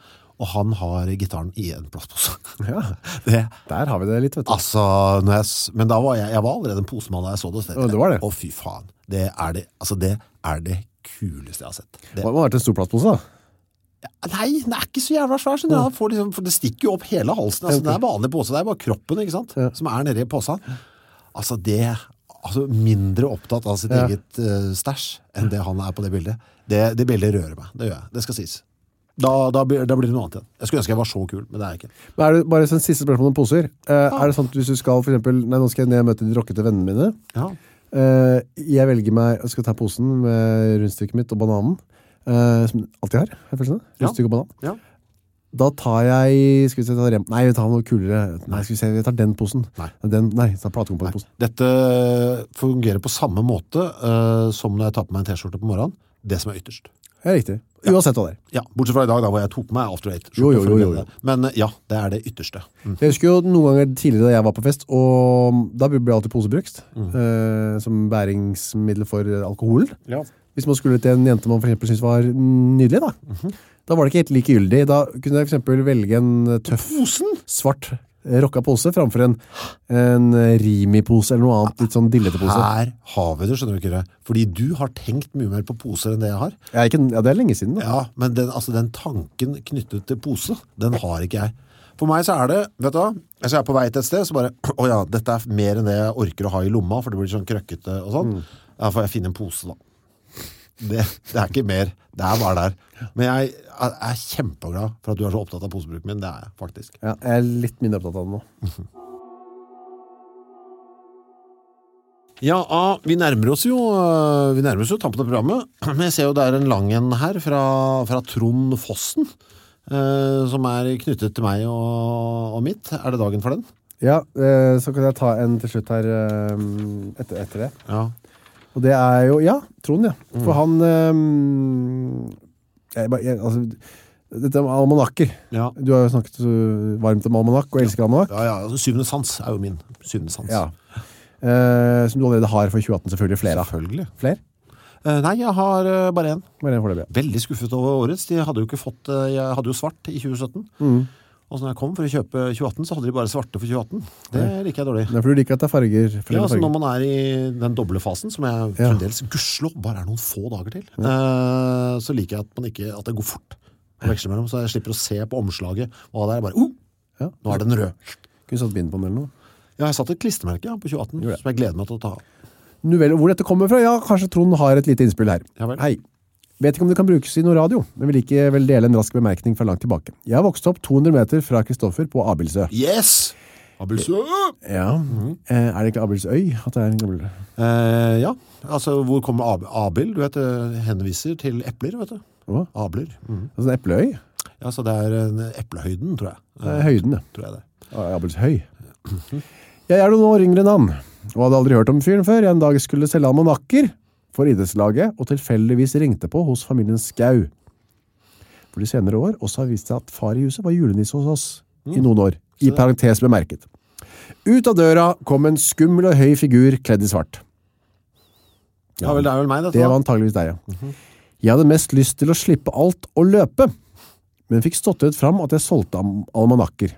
og han har gitaren i en plastpose.
Ja.
det
Der har vi det litt, vet du.
Altså, når jeg, s- men da var jeg, jeg var allerede en posemann da jeg så det. så tenkte
Ja, det var det.
jeg, Å fy faen, det er det, altså det er det kuleste jeg har sett. Det.
Det må ha vært en stor plastpose, da.
Nei, den er ikke så jævla svær, skjønner du. Den får liksom, for det stikker jo opp hele halsen. Altså, Det er vanlig pose, det er bare kroppen ikke sant?
Ja.
som er nede i posen. Altså, det altså, Mindre opptatt av sitt
Ja.
eget uh, stæsj enn det han er på det bildet. Det, det bildet rører meg. Det gjør jeg. Det skal sies. Da, da, blir- da blir det noe annet igjen. Jeg skulle ønske jeg var så kul, men det er jeg ikke.
Men er det bare sånn siste spørsmål om poser? Eh,
Ah.
Er det sånn at hvis du skal, for eksempel, nei, nå skal jeg ned og møte de rockete vennene mine,
Ja.
eh, jeg velger meg, jeg skal ta posen med rundstykket mitt og bananen, eh, som jeg alltid har, har jeg følelsen av,
Ja.
rundstykke og banan.
Ja.
Da tar jeg, skal vi se, jeg tar rem, nei, vi tar noe kulere, nei, skal vi se, jeg tar den posen.
Nei.
Den, nei, jeg tar platekomponentposen.
Dette fungerer på samme måte eh, som når jeg tar på meg en T-skjorte på morgenen. Det som er ytterst.
Det er riktig. Uansett hva det er.
Ja, Bortsett fra i dag, da, hvor jeg tok på meg After
Jo, jo,
Eight-skjorte.
jo, jo, jo.
Men eh, ja, det er det ytterste. Mm.
Jeg husker jo noen ganger tidligere da jeg var på fest, og da ble det alltid pose brukt,
Mm.
eh, som bæringsmiddel for alkoholen.
Ja.
Hvis man skulle til en jente man for eksempel syntes var nydelig, da,
Mhm.
da var det ikke helt likegyldig. Da kunne jeg for eksempel velge en tøff,
Posen!
svart, eh, rocka pose framfor en, en Rimi-pose eller noe annet, litt sånn dillete pose.
Her har vi det, skjønner du ikke det? Fordi du har tenkt mye mer på poser enn det jeg har.
Jeg er ikke, ja, det er lenge siden da.
Ja, men den, altså, den tanken knyttet til pose, den har ikke jeg. For meg så er det, vet du hva, altså jeg er på vei til et sted, så bare, å ja, dette er mer enn det jeg orker å ha i lomma, for det blir sånn krøkkete og sånn. Da får jeg finne en pose da. Det, det er ikke mer, det er bare der. Men jeg er, er kjempeglad for at du er så opptatt av posebruken min, det er jeg faktisk.
Ja, jeg er litt mindre opptatt av det nå.
Ja, ah, vi nærmer oss jo øh, Vi nærmer oss jo tampen av programmet Men jeg ser jo det er en lang en her Fra, fra Trond Fossen eh, Som er knyttet til meg og, og mitt Er det dagen for den?
Ja, eh, så kan jeg ta en til slutt her eh, etter, etter det.
Ja,
Og det er jo, ja, Trond, ja.
Mm.
For han, eh, jeg, bare- jeg, altså, dette er almanakker.
ja.
Du har jo snakket så varmt om almanakk, og elsker almanakk.
ja, ja altså, Syvende sans er jo min Syvende sans
Ja. Eh, som du allerede har for 2018, selvfølgelig flere av.
Selvfølgelig
Flere?
Eh, Nei, jeg har eh, bare en
Bare en foreløpig.
Veldig skuffet over årets De hadde jo ikke fått eh, Jeg hadde jo svart i 2017
Mm.
Og så når jeg kom for å kjøpe 2018 Så hadde de bare svarte for 2018 Det liker jeg dårlig
Det er fordi du liker at det er farger. flere
Ja, altså
farger.
når man er i den doble fasen, som jeg
Ja.
fremdeles, gudskjelov, bare er noen få dager til, eh, så liker jeg at, man ikke, at det går fort å veksle mellom, så jeg slipper å se på omslaget, og det er bare, oh,
Ja.
nå er den rød.
Kunne satt bind på den eller noe.
Ja, jeg satt et klistermerke ja, på 2018,
Gjorde det.
som jeg gleder meg til å ta.
Novelle, hvor dette kommer fra? Ja, kanskje Trond har et lite innspill her.
Ja vel.
Hei. Vet ikke om det kan brukes i noe radio, men vil likevel dele en rask bemerkning fra langt tilbake. Jeg vokste opp 200 meter fra Kristoffer på Abildsø.
Yes! Abelsø!
Ja. Eh, er det ikke Abildsøy? At det er en gammel...
Eh, ja, altså hvor kommer Ab Abel? Du vet, det henviser til epler, vet du.
Hva?
Abler. Mhm.
Altså en epleøy?
Ja, så det er en eplehøyden, tror jeg.
Det er høyden, det.
Tror jeg det.
Abelshøy. Jeg er noen år yngre enn han, og hadde aldri hørt om fyren før jeg en dag skulle selge almanakker for idrettslaget, og tilfeldigvis ringte på hos familien Skau. For de senere år også har vist seg at far i huset var julenisse hos oss i noen år, i parentes bemerket. Ut av døra kom en skummel og høy figur kledd i svart.
Ja, vel, det er vel meg, dette.
Det
da.
var antageligvis deg, ja. Jeg hadde mest lyst til å slippe alt og løpe, men fikk ståttet fram at jeg solgte am- almanakker.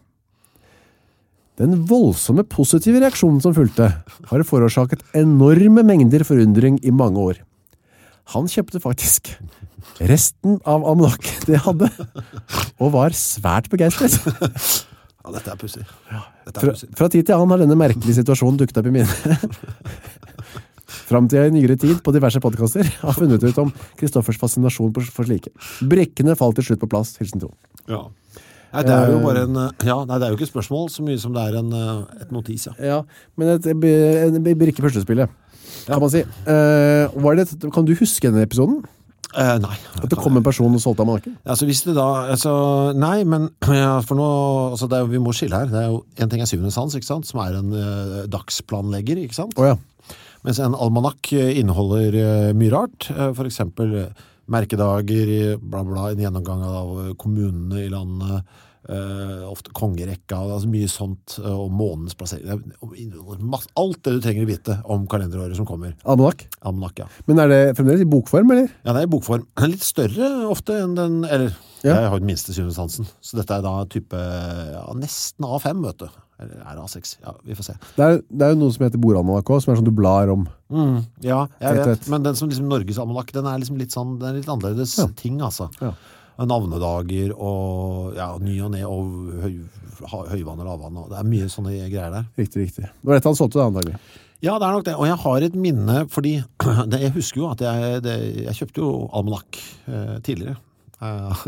Den voldsomme positive reaksjonen som fulgte, har forårsaket enorme mengder forundring i mange år. Han kjøpte faktisk resten av almanakken det hadde, og var svært begeistret.
Ja, dette er pussig. Dette er
Fra,
pussig.
fra tid til annen har denne merkelige situasjonen dukket opp i mine. Fram til jeg i nyere tid på diverse podkaster har funnet ut om Kristoffers fascinasjon på- for slike. Brikkene falt til slutt på plass. Hilsen Trond.
Ja. Nei, det er jo bare en eh, Ja, nei, det er jo ikke et spørsmål så mye som det er en, eh, et notis, ja.
Ja, men et, en brikke i puslespillet, kan man si. Eh, var det, et- kan du huske denne episoden?
Eh, nei.
At det kom en person og solgte almanakken?
Altså, hvis det da altså, Nei, men ja, for nå altså, det er, jo- Vi må skille her. Det er jo en ting er syvende sans, ikke sant, som er en eh, dagsplanlegger, ikke sant.
Å ja.
Mens en almanakk eh, inneholder eh, mye rart. Eh, for eksempel eh, merkedager, eh, bla, bla, en gjennomgang av eh, kommunene i landet. eh, ofte kongerekka, altså mye sånt, eh, og månens plassering. Det er- inneholder masse- Alt det du trenger å vite om kalenderåret som kommer.
Almanakk?
Almanakk, ja.
Men er det fremdeles i bokform, eller?
Ja, det er i bokform. Den er litt større ofte enn den, eller
Ja.
jeg har den minste synesansen, så dette er da type ja, nesten A5, vet du. Eller er det A6? Ja, vi får se.
Det er, det er jo noe som heter Boralmanakk også, som er sånn du blar om.
Mm, ja, jeg
Tett,
vet.
tett.
Men den som liksom Norges almanakk, den er liksom litt sånn, den er litt annerledes ting, altså.
Ja.
Navnedager og ja, ny og ned og høy, ha- høyvann og lavvann. Og det er mye sånne greier der.
Riktig, riktig. Det var dette han solgte, da, antagelig.
Ja, det er nok det. Og jeg har et minne, fordi det, jeg husker jo at jeg, det, jeg kjøpte jo almanakk eh, tidligere. Eh,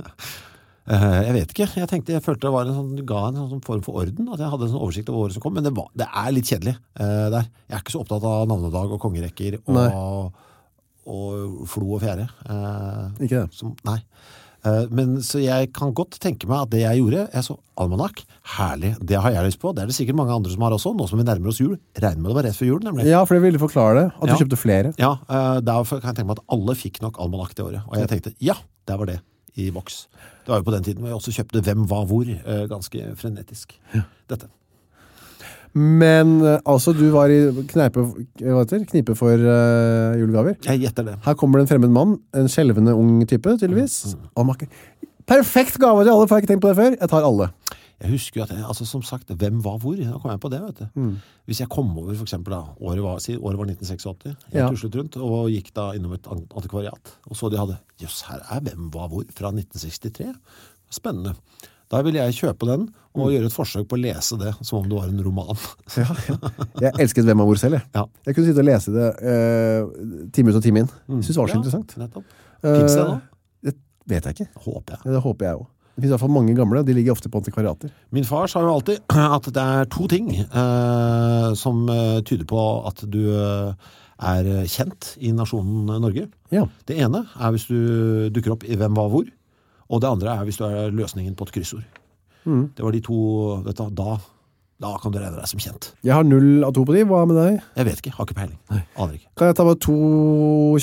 eh, jeg vet ikke. Jeg tenkte, jeg følte det var en sånn, ga en sånn form for orden, at jeg hadde en sånn oversikt over året som kom, men det, var, det er litt kjedelig eh, der. Jeg er ikke så opptatt av navnedag og kongerekker
Nei.
og, og flo og fjære. Eh,
Ikke det?
som, nei. Eh, Men så jeg kan godt tenke meg at det jeg gjorde, jeg så almanakk, herlig, det har jeg lyst på. Det er det sikkert mange andre som har også, nå som vi nærmer oss jul. Regner med det var rett før jul, nemlig.
Ja, for det ville forklare det. At
Ja.
du kjøpte flere.
Ja, eh, derfor kan jeg tenke meg at alle fikk nok almanakk det året. Og jeg tenkte, ja, der var det i boks. Det var jo på den tiden hvor jeg også kjøpte Hvem, hva, hvor, eh, ganske frenetisk. Dette.
Men eh, altså, du var i kneipe, hva heter, det? knipe for eh, julegaver.
Jeg gjetter det.
Her kommer det en fremmed mann, en skjelvende ung type, tydeligvis.
Mm.
Og makker. Perfekt gave til alle, for jeg har ikke tenkt på det før. Jeg tar alle.
Jeg husker jo at, jeg, altså som sagt, hvem var hvor? Da kom jeg på det, vet du.
Mm.
Hvis jeg kom over, for eksempel da, året var, si, året var 1986, jeg
Ja.
tuslet rundt, og gikk da innom et an- antikvariat, og så de hadde, jøss, her er hvem var hvor, fra 1963. Spennende. Da ville jeg kjøpe den,
Mm.
og gjøre et forsøk på å lese det, som om det var en roman.
Jeg elsket hvem av hvor selv, jeg.
Ja.
Jeg kunne sitte og lese det eh, time ut og time inn. Synes det var så
Ja,
interessant.
Nettopp. Mm. Finnes det
Eh,
nå?
Det vet jeg ikke.
Håper jeg.
Ja, Det håper jeg òg. Det finnes i hvert fall mange gamle, og de ligger ofte på antikvariater.
Min far sa jo alltid at det er to ting eh, som eh, tyder på at du eh, er kjent i nasjonen eh, Norge.
Ja.
Det ene er hvis du dukker opp i hvem var hvor, og det andre er hvis du er løsningen på et kryssord.
Mm.
Det var de to, vet du, da, da kan du regne deg som kjent.
Jeg har null av to på de. Hva med deg?
Jeg vet ikke, har ikke peiling. Aner ikke.
Kan jeg ta bare to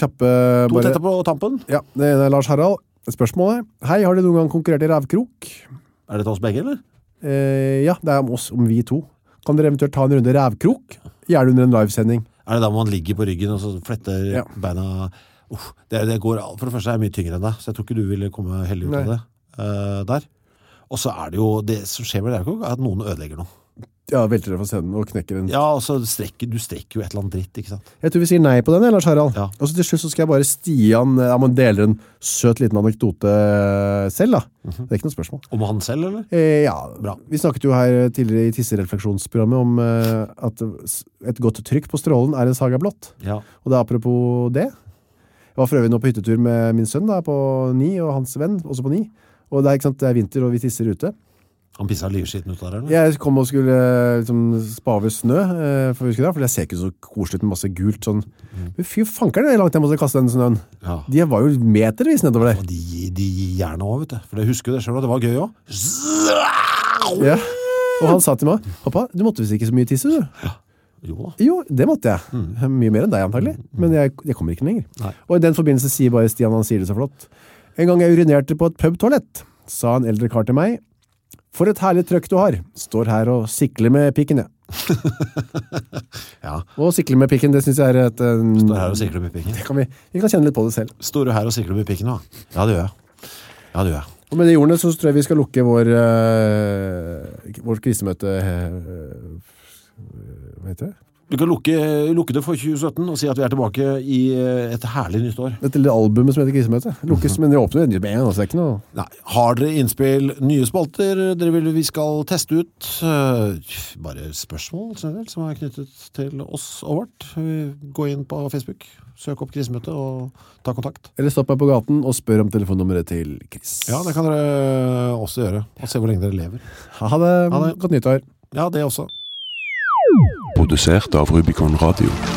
kjappe
To
bare-
tette på tampen.
Ja, Det ene er Lars Harald. Spørsmålet Hei, har du noen gang konkurrert i rævkrok?
Er det til oss begge, eller?
Eh, ja, det er om oss, om vi to. Kan dere eventuelt ta en runde rævkrok? Gjerne under en livesending.
Er det da man ligger på ryggen og så fletter
Ja.
beina? Uff, det, det går, al- for det første er jeg mye tyngre enn deg, så jeg tror ikke du ville komme heldig ut
Nei.
av det eh, der. Og så er det jo, det som skjer med rævkrok, er at noen ødelegger noe.
Ja, velter dere fra scenen og knekker den.
Ja, og så strekker, du strekker jo et eller annet dritt, ikke sant?
Jeg tror vi sier nei på den, jeg, Lars Harald.
Ja.
Og så til slutt så skal jeg bare Stian eh, Ja, man deler en søt liten anekdote eh, selv, da.
Mhm.
Det er ikke noe spørsmål.
Om han selv, eller?
Eh, ja,
Bra.
vi snakket jo her tidligere i tisserefleksjonsprogrammet om eh, at s- et godt trykk på strålen er en saga blått.
Ja.
Og det er apropos det. Jeg var for øvrig nå på hyttetur med min sønn da, på ni, og hans venn, også på ni. Og det er, ikke sant, det er vinter, og vi tisser ute.
Han pisset livskiten ut der, eller?
Jeg kom og skulle eh, liksom, spa over snø, eh, for, å huske det, for det ser ikke så koselig ut med masse gult. Sånn. Men fy fanker det er langt jeg måtte kaste den snøen.
Ja.
De var jo metervis nedover der.
Og de, de gir gjerne også, vet du. For jeg husker jo det selv, og det var gøy også.
Ja. Og han sa til meg, pappa, du måtte visst ikke så mye tisse, du.
Jo da.
Jo, det måtte jeg. Mye mer enn deg antagelig, men jeg, jeg kommer ikke lenger.
Mm. Nei.
Og i den forbindelse sier bare Stian, han sier det så flott. En gang jeg urinerte på et pubtoalett, sa en eldre kar til meg, for et herlig trøkk du har, står her og sikler med pikken, jeg.
Ja,
Og sikler med pikken, det synes jeg er et... eh,
står her og sikler med pikken.
det kan vi, vi kan kjenne litt på det selv.
Står du her og sikler med pikken, da? Ja, det gjør jeg. Ja, det gjør jeg.
Og med de ordene så tror jeg vi skal lukke vår, eh, vår krisemøte... eh, hva heter det?
Du kan lukke, lukke det for 2017 og si at vi er tilbake i eh, et herlig nytt år.
Dette lille albumet som heter krisemøte.
Mhm.
Lukkes, men det åpner med en, så det er ikke noe...
Nei, har dere innspill, nye spalter dere vil vi skal teste ut? eh, Bare spørsmål generelt som er knyttet til oss og vårt. Gå inn på Facebook, søk opp krisemøtet og ta kontakt.
Eller stopp meg på gaten og spør om telefonnummeret til Chris.
Ja, det kan dere også gjøre, og se hvor lenge dere lever.
Ha det.
Ha det. er
Godt nyttår.
Ja, det også.
produsert av Rubicon Radio.